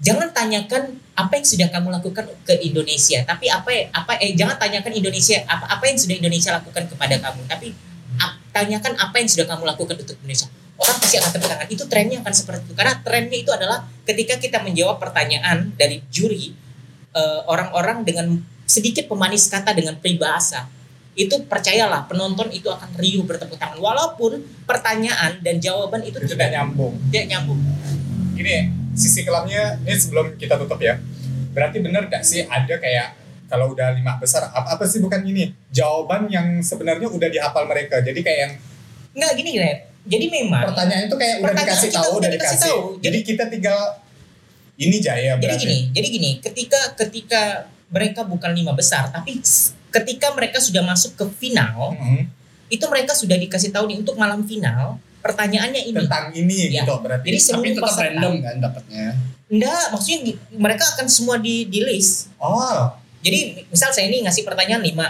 S4: Jangan tanyakan apa yang sudah kamu lakukan ke Indonesia, tapi apa apa eh jangan tanyakan Indonesia apa apa yang sudah Indonesia lakukan kepada kamu, tapi ap- tanyakan apa yang sudah kamu lakukan untuk Indonesia. Orang pasti akan tepuk tangan. Itu trennya akan seperti itu karena trennya itu adalah ketika kita menjawab pertanyaan dari juri eh, orang-orang dengan sedikit pemanis kata dengan peribahasa itu percayalah penonton itu akan riuh bertepuk tangan walaupun pertanyaan dan jawaban itu
S2: itu tidak
S4: tidak
S2: nyambung
S4: tidak nyambung
S2: gini sisi kelamnya ini sebelum kita tutup ya berarti bener gak sih ada kayak kalau udah lima besar apa apa sih bukan ini jawaban yang sebenarnya udah dihafal mereka jadi kayak yang
S4: nggak gini Red jadi memang
S2: pertanyaan itu kayak udah
S4: Pertanyaan
S2: dikasih
S4: kita
S2: tahu
S4: udah
S2: udah
S4: dikasih
S2: dikasih
S4: tahu.
S2: jadi kita tinggal ini jaya
S4: jadi
S2: berarti
S4: gini jadi gini ketika ketika mereka bukan lima besar tapi s- ketika mereka sudah masuk ke final
S2: Mm,
S4: itu mereka sudah dikasih tahu nih untuk malam final pertanyaannya ini
S2: tentang ini
S4: Ya.
S2: gitu berarti
S4: jadi
S1: Tapi
S4: seluruh
S1: tetap
S4: peserta
S1: random kan dapatnya.
S4: enggak maksudnya di- mereka akan semua di di list
S2: oh
S4: jadi misal saya ini ngasih pertanyaan lima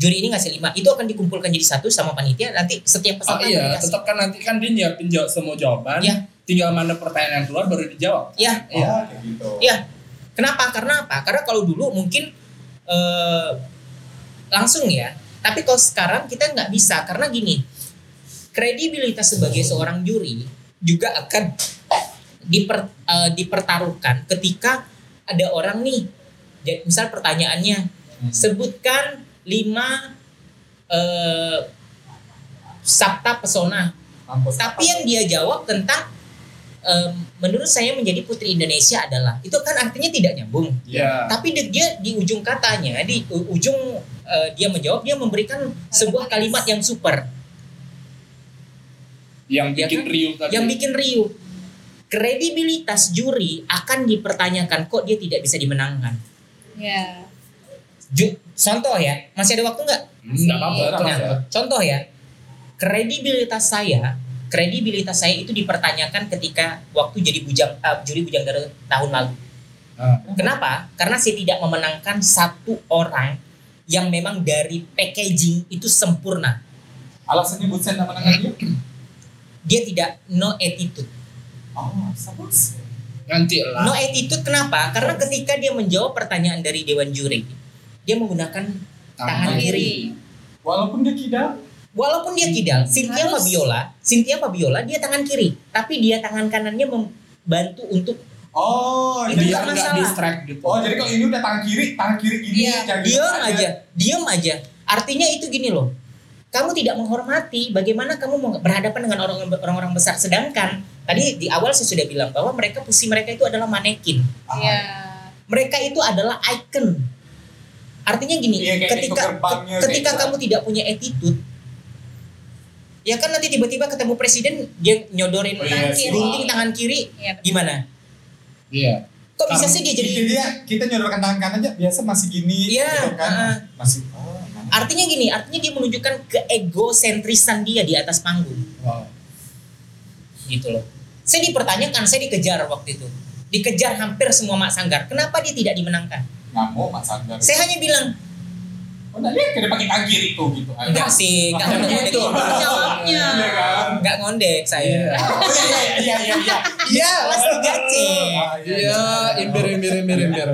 S4: juri ini ngasih lima itu akan dikumpulkan jadi satu sama panitia nanti
S1: Oh
S4: setiap peserta akan
S1: iya,
S4: dikasih.
S1: tetap kan nanti kan dia nyiapin jawab semua jawaban.
S4: Iya.
S1: Tinggal mana pertanyaan yang keluar baru dijawab.
S4: ya
S2: iya
S1: Iya.
S2: kayak gitu
S4: Iya. Kenapa? Karena apa? Karena kalau dulu mungkin eh, langsung ya. Tapi kalau sekarang kita nggak bisa karena gini, kredibilitas sebagai seorang juri juga akan diper, eh, dipertaruhkan ketika ada orang nih, jadi misal pertanyaannya sebutkan lima eh, sabta pesona
S2: Mampus.
S4: tapi yang dia jawab tentang em, menurut saya menjadi putri Indonesia adalah itu kan artinya tidak nyambung.
S1: Iya.
S4: Tapi di- dia di ujung katanya di u- ujung eh, dia menjawab dia memberikan sebuah kalimat yang super
S1: Yang
S4: Iya
S1: bikin
S4: kan?
S1: riuh tadi.
S4: yang bikin riuh. Kredibilitas juri akan dipertanyakan kok dia tidak bisa dimenangkan.
S3: Ya.
S4: Ju- contoh ya, masih ada waktu nggak?
S1: Enggak Hmm, apa-apa.
S4: Nah,
S1: terus ya.
S4: contoh ya, kredibilitas saya, kredibilitas saya itu dipertanyakan ketika waktu jadi bujang eh, juri bujangga tahun lalu.
S1: Ah.
S4: Kenapa? Karena saya tidak memenangkan satu orang yang memang dari packaging itu sempurna.
S2: alasannya Bunsen dan menangan dia
S4: Dia tidak no attitude.
S2: oh sama sih
S1: Nanti lah.
S4: No attitude kenapa? Karena ketika dia menjawab pertanyaan dari dewan juri, dia menggunakan tangan kiri.
S2: walaupun dia kidal
S4: Walaupun dia kidal, Cynthia
S3: Harus.
S4: Fabiola, Cynthia Fabiola dia tangan kiri, tapi dia tangan kanannya membantu untuk
S2: oh
S4: Itu
S2: jadi
S1: Biar
S4: bukan
S1: nggak
S4: masalah.
S1: distract gitu.
S2: oh jadi kalau ini udah tangan kiri tangan kiri gini
S4: Iya,
S2: jangan gitu
S4: diam aja, diam aja. Artinya itu gini loh. Kamu tidak menghormati bagaimana kamu mau berhadapan dengan orang- orang-orang besar. Sedangkan tadi di awal saya sudah bilang bahwa mereka posisi mereka itu adalah manekin.
S2: Ah,
S3: Iya.
S4: Mereka itu adalah icon. Artinya gini,
S2: Iya, kayak
S4: ketika
S2: itu gerbangnya,
S4: ke- ketika
S2: kayak
S4: kamu tidak punya attitude Ya kan nanti tiba-tiba ketemu presiden dia nyodorin
S1: Oh,
S3: iya sih.
S4: gunting tangan kiri
S3: Iya. betul.
S4: gimana?
S1: Iya.
S4: Kok bisa sih
S2: *laughs*
S4: dia
S2: jadi
S4: jadi
S2: dia kita nyodorkan tangan kanan aja biasa masih gini
S4: Iya,
S2: gitu kan
S4: ah.
S2: masih oh, emang.
S4: Artinya gini, artinya dia menunjukkan keegosentrisan dia di atas panggung
S1: Wow.
S4: gitu loh. Saya dipertanyakan, saya dikejar waktu itu. Dikejar hampir semua mak sanggar. Kenapa dia tidak dimenangkan?
S2: ngamuk mas Sandar
S4: Saya hanya bilang,
S2: oh nah dia kena pakai tangan kiri tuh gitu aja
S4: enggak sih, enggak
S3: Iya,
S4: ngondek
S2: Gitu.
S4: gitu jawabnya.
S2: Iya kan?
S4: Enggak ngondek saya.
S2: *laughs* Oh, iya iya iya
S4: *laughs*
S2: iya
S4: Iya, Mas digaji.
S2: Ah,
S1: Iya, imbir imbir imbir imbir.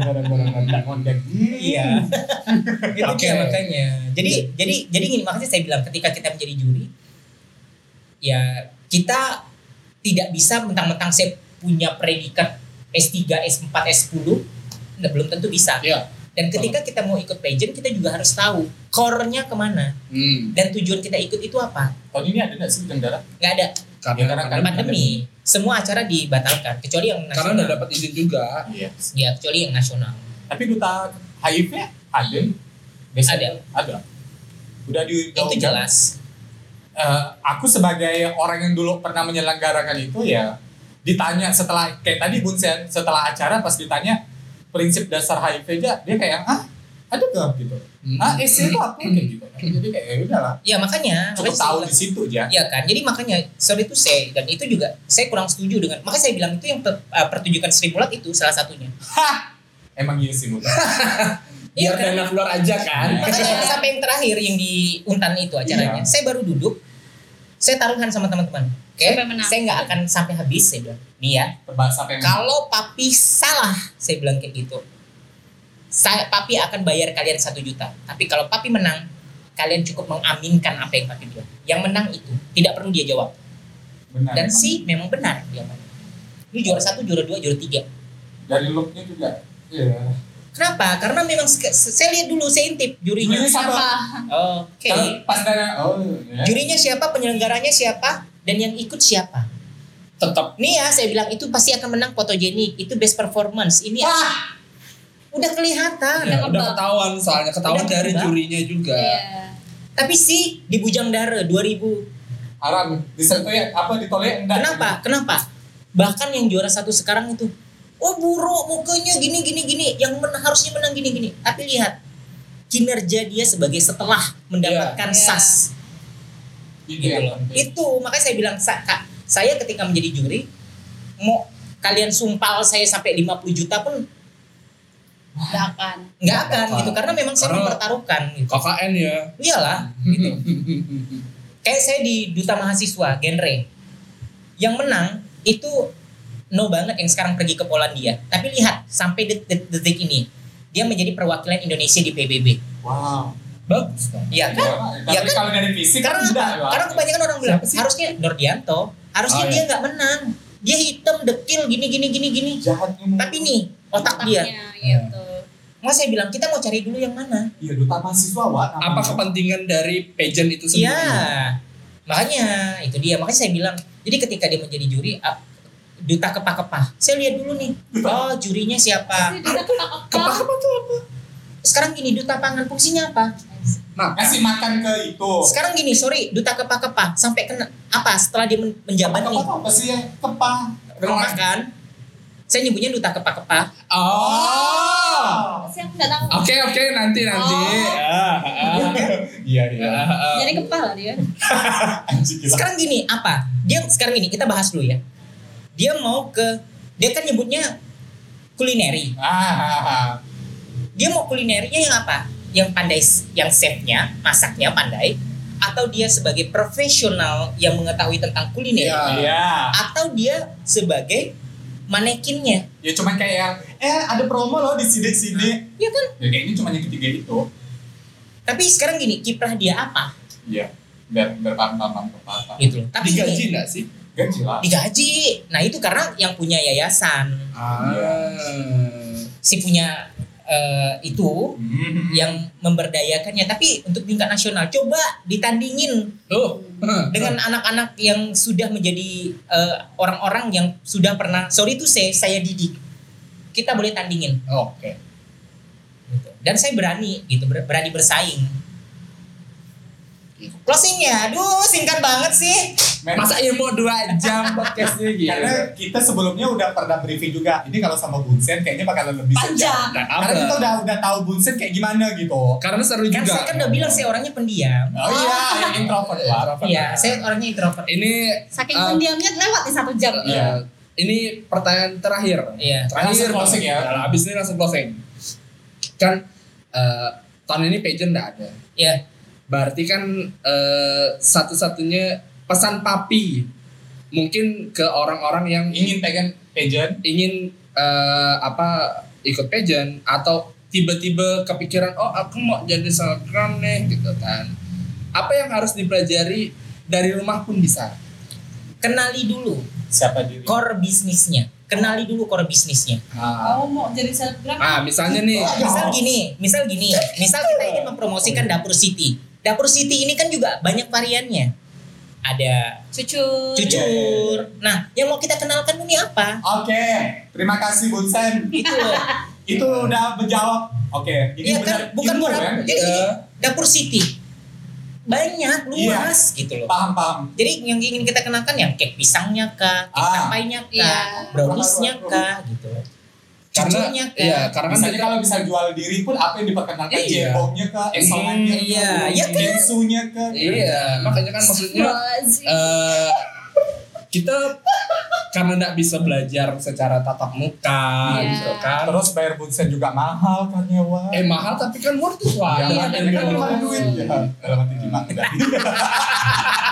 S2: ngondek ngondek
S4: Iya.
S2: *laughs*
S4: Itu dia
S1: Oke.
S4: makanya. Jadi
S2: Iya.
S4: jadi jadi gini makanya saya bilang ketika kita menjadi juri ya kita tidak bisa mentang-mentang saya punya predikat S3, S4, S10 nah, belum tentu bisa.
S1: Iya.
S4: Dan ketika kita mau ikut pageant kita juga harus tahu core-nya kemana
S1: Hmm.
S4: dan tujuan kita ikut itu apa.
S2: tahun ini ada nggak sih bujang darah
S4: Nggak ada
S2: Ya, karena kan-
S1: kan-
S4: pandemi. Semua acara dibatalkan kecuali yang
S1: Karena
S4: nasional.
S1: udah dapat izin juga.
S2: iya
S4: Ya, kecuali yang nasional.
S2: tapi duta HIV -nya ada Biasanya ada udah di
S4: Itu jelas.
S2: Eh, aku sebagai orang yang dulu pernah menyelenggarakan itu ya ditanya setelah kayak tadi Bunsen setelah acara pas ditanya prinsip dasar HIV aja dia kayak ah ada gak gitu
S1: Hmm.
S2: ah isi itu apa kayak gitu
S4: Hmm.
S2: jadi kayak ya udahlah
S4: Ya makanya,
S2: cukup
S4: makanya saya
S2: tahu
S4: bilang-
S2: di situ aja
S4: Iya kan, jadi makanya sorry itu saya dan itu juga saya kurang setuju dengan makanya saya bilang itu yang per- eh, pertunjukan Sri Mulat itu salah satunya.
S2: emang iya sih Bun.
S1: Biar
S4: kan? Iya,
S1: dana keluar aja kan.
S4: Makanya sampai yang terakhir yang di Untan itu acaranya,
S2: Iya.
S4: saya baru duduk, saya taruhan sama teman-teman. Oke,
S3: Sampai menang.
S4: saya nggak akan sampai habis saya bilang. Nih ya,
S2: bahasa apa yang
S4: kalau papi salah, saya bilang kayak gitu. Saya papi akan bayar kalian satu juta. Tapi kalau papi menang, kalian cukup mengaminkan apa yang papi bilang. Yang menang itu tidak perlu dia jawab.
S2: benar
S4: dan
S2: emang.
S4: si Nah, memang benar dia menang. Lu juara satu, juara dua, juara tiga.
S2: dari looknya juga iya
S4: Kenapa? Karena memang se- se- saya lihat dulu, saya intip jurinya.
S2: Juri siapa?
S3: Apa?
S1: Oh.
S4: Oke.
S2: Kalau Pas dari oh ya.
S4: Jurinya siapa, penyelenggaranya siapa, dan yang ikut siapa?
S1: tetap
S4: Nih ya, saya bilang itu pasti akan menang fotogenik, itu best performance. Ini udah kelihatan.
S1: ya, udah
S3: kebak.
S1: ketahuan soalnya ketahuan
S4: Ah, Udah
S1: dari
S4: kebak.
S1: jurinya juga
S3: Iya.
S4: Tapi sih di Bujang Dara 2000.
S2: Haram. Di situ ya apa ditolak enggak?
S4: Kenapa? Kenapa? Bahkan yang juara satu sekarang itu Oh buruk mukanya gini gini gini yang men- harusnya menang gini gini tapi lihat kinerja dia sebagai setelah
S3: Iya.
S4: mendapatkan sas
S2: Gitu ya.
S4: itu makanya saya bilang "Sa- Kak, saya ketika menjadi juri mau kalian sumpal saya sampai 50 juta pun
S3: Gak akan.
S4: nggak akan
S1: bakal.
S4: gitu karena memang saya
S1: Karena-
S4: mempertaruhkan gitu.
S1: KKN ya
S4: iyalah gitu kayak Eh, saya di duta mahasiswa genre yang menang itu no banget yang sekarang pergi ke Polandia tapi lihat sampai det- det- detik ini dia menjadi perwakilan Indonesia di PBB
S2: Wow.
S1: bagus dong
S4: iya
S2: Ya,
S4: kan
S2: tapi
S4: Ya kan?
S2: kalau dari fisik
S4: karena
S2: kan enggak.
S4: karena kebanyakan orang bilang
S1: Siapa sih?
S4: harusnya Nordianto harusnya
S1: Oh,
S4: dia nggak menang dia hitam dekil gini gini gini gini
S2: jahatnya mulu.
S4: tapi nih otak dia
S3: Otaknya, Iya betul.
S4: mau saya bilang kita mau cari dulu yang mana
S2: Iya duta mahasiswa Wak.
S1: apa
S2: namanya.
S1: kepentingan dari pageant itu
S4: Iya,
S1: sendiri
S4: makanya itu dia. Makanya saya bilang, jadi ketika dia menjadi juri, ah, duta kepah-kepah. Saya lihat dulu nih, oh jurinya siapa?
S3: Itu duta kepak-kepak.
S1: Kepah apa tuh apa
S4: Sekarang gini, duta pangan fungsinya apa?
S1: makan
S2: ngasih makan ke itu.
S4: Sekarang gini, sorry, duta kepah-kepah sampai kena apa? Setelah dia men-
S2: Apa
S4: menjabat
S2: apa
S4: nih,
S2: tuh apa sih ya? Kepah.
S4: rumah makan. Saya nyebutnya duta kepah-kepah.
S1: oh
S3: Siapa nggak tahu.
S1: oke oke nanti nanti
S3: Oh.
S1: Ya,
S2: Iya
S1: ya,
S4: Ah.
S1: ya.
S3: Jadi kepal lah dia.
S2: Anjing gila.
S4: Sekarang gini, apa? Dia sekarang gini, kita bahas dulu ya. Dia mau ke, dia kan nyebutnya kulineri.
S2: Ah, ah, ah.
S4: dia mau kulinernya yang apa? Yang pandai, yang chefnya, masaknya pandai, atau dia sebagai profesional yang mengetahui tentang kuliner,
S1: Ah.
S2: Iya.
S4: atau dia sebagai manekinnya,
S2: Ya cuman kayak yang, eh ada promo loh di sini-sini.
S4: ya kan?
S2: Ya kayaknya cuma yang ketiga itu.
S4: Tapi sekarang gini, kiprah dia apa?
S2: Iya. Biar Kan biar paham paham paham, paham.
S4: Gitu loh. Tapi
S1: digaji
S4: gini,
S1: nggak sih
S2: Gaji lah.
S4: digaji. Nah itu karena yang punya yayasan,
S2: Iya.
S1: ah
S4: si punya eh, itu
S2: Hmm.
S4: yang memberdayakannya. Tapi untuk tingkat nasional, coba ditandingin
S1: tuh
S4: dengan anak-anak yang sudah menjadi eh, orang-orang yang sudah pernah sorry itu saya saya didik kita boleh tandingin
S1: oke
S4: gitu. dan saya berani gitu ber- berani bersaing closingnya aduh singkat banget sih
S2: Men,
S1: masa ilmu dua jam podcastnya gitu
S2: karena kita sebelumnya udah pernah briefing juga. Ini kalau sama Bunsen kayaknya bakalan lebih
S3: Panjang.
S1: Nah, apa?
S2: Karena kita udah udah tahu Bunsen kayak gimana gitu.
S1: karena seru
S4: kan
S1: juga
S4: saya kan udah bilang saya orangnya pendiam
S2: Oh iya, yang introvert lah.
S4: iya saya orangnya introvert
S1: ini
S3: Saking
S1: Ah.
S3: pendiamnya lewat nih satu jam.
S1: Eh, Ini pertanyaan terakhir.
S4: Iya.
S1: Terakhir
S2: Langsung closing ya.
S1: Nah, Habis ini langsung closing. Kan eh, tahun ini pageant nggak ada.
S4: ya
S1: Berarti kan eh, satu-satunya pesan papi mungkin ke orang-orang yang
S2: Ingin pengen pageant?
S1: ingin eh, apa ikut pageant atau tiba-tiba kepikiran oh aku mau jadi selebgram nih gitu kan. Apa yang harus dipelajari dari rumah pun bisa.
S4: kenali dulu
S2: Siapa diri?
S4: core bisnisnya kenali dulu core bisnisnya Oh.
S1: Ah,
S3: Kamu Oh, mau jadi selebgram?
S1: Ah, misalnya nih
S4: misal gini misal gini misal kita ingin mempromosikan dapur city dapur city ini kan juga banyak variannya ada
S3: Cucu.
S2: Iya,
S4: jujur. Nah, yang mau kita kenalkan ini apa?
S2: Oke, terima kasih Bunsen.
S4: Itu loh.
S2: Itu udah menjawab. Oke, *laughs* ini
S4: Iya
S2: benar
S4: kan, bukan
S2: ilmu
S4: bukan.
S2: ya?
S4: Jadi gini,
S1: Iya.
S4: dapur city
S2: Iya.
S4: banyak luas gitu loh.
S2: Paham, paham.
S4: Jadi yang ingin kita kenalkan yang kek pisangnya kah, kek
S2: Ah.
S4: tapainya
S3: Iya.
S4: kah, browniesnya kah gitu. loh.
S1: karena
S4: Cucunya kan.
S1: iya karena kan
S2: Misalnya kalau bisa jual diri pun apa yang diperkenalkan
S1: Iya.
S2: jebongnya ke esongannya
S1: Hmm,
S4: iya, iya kan?
S2: bingsunya ke
S1: Iya, makanya kan maksudnya
S3: Wazir.
S1: eh kita karena nggak bisa belajar secara tatap muka
S3: Iya.
S1: gitu kan.
S2: terus bayar Bunsen juga mahal kan ya wah
S1: Eh mahal tapi kan worth it wah. dengan
S2: Ya, kan
S1: ilmu.
S2: mahal duit ya dalam hati gimana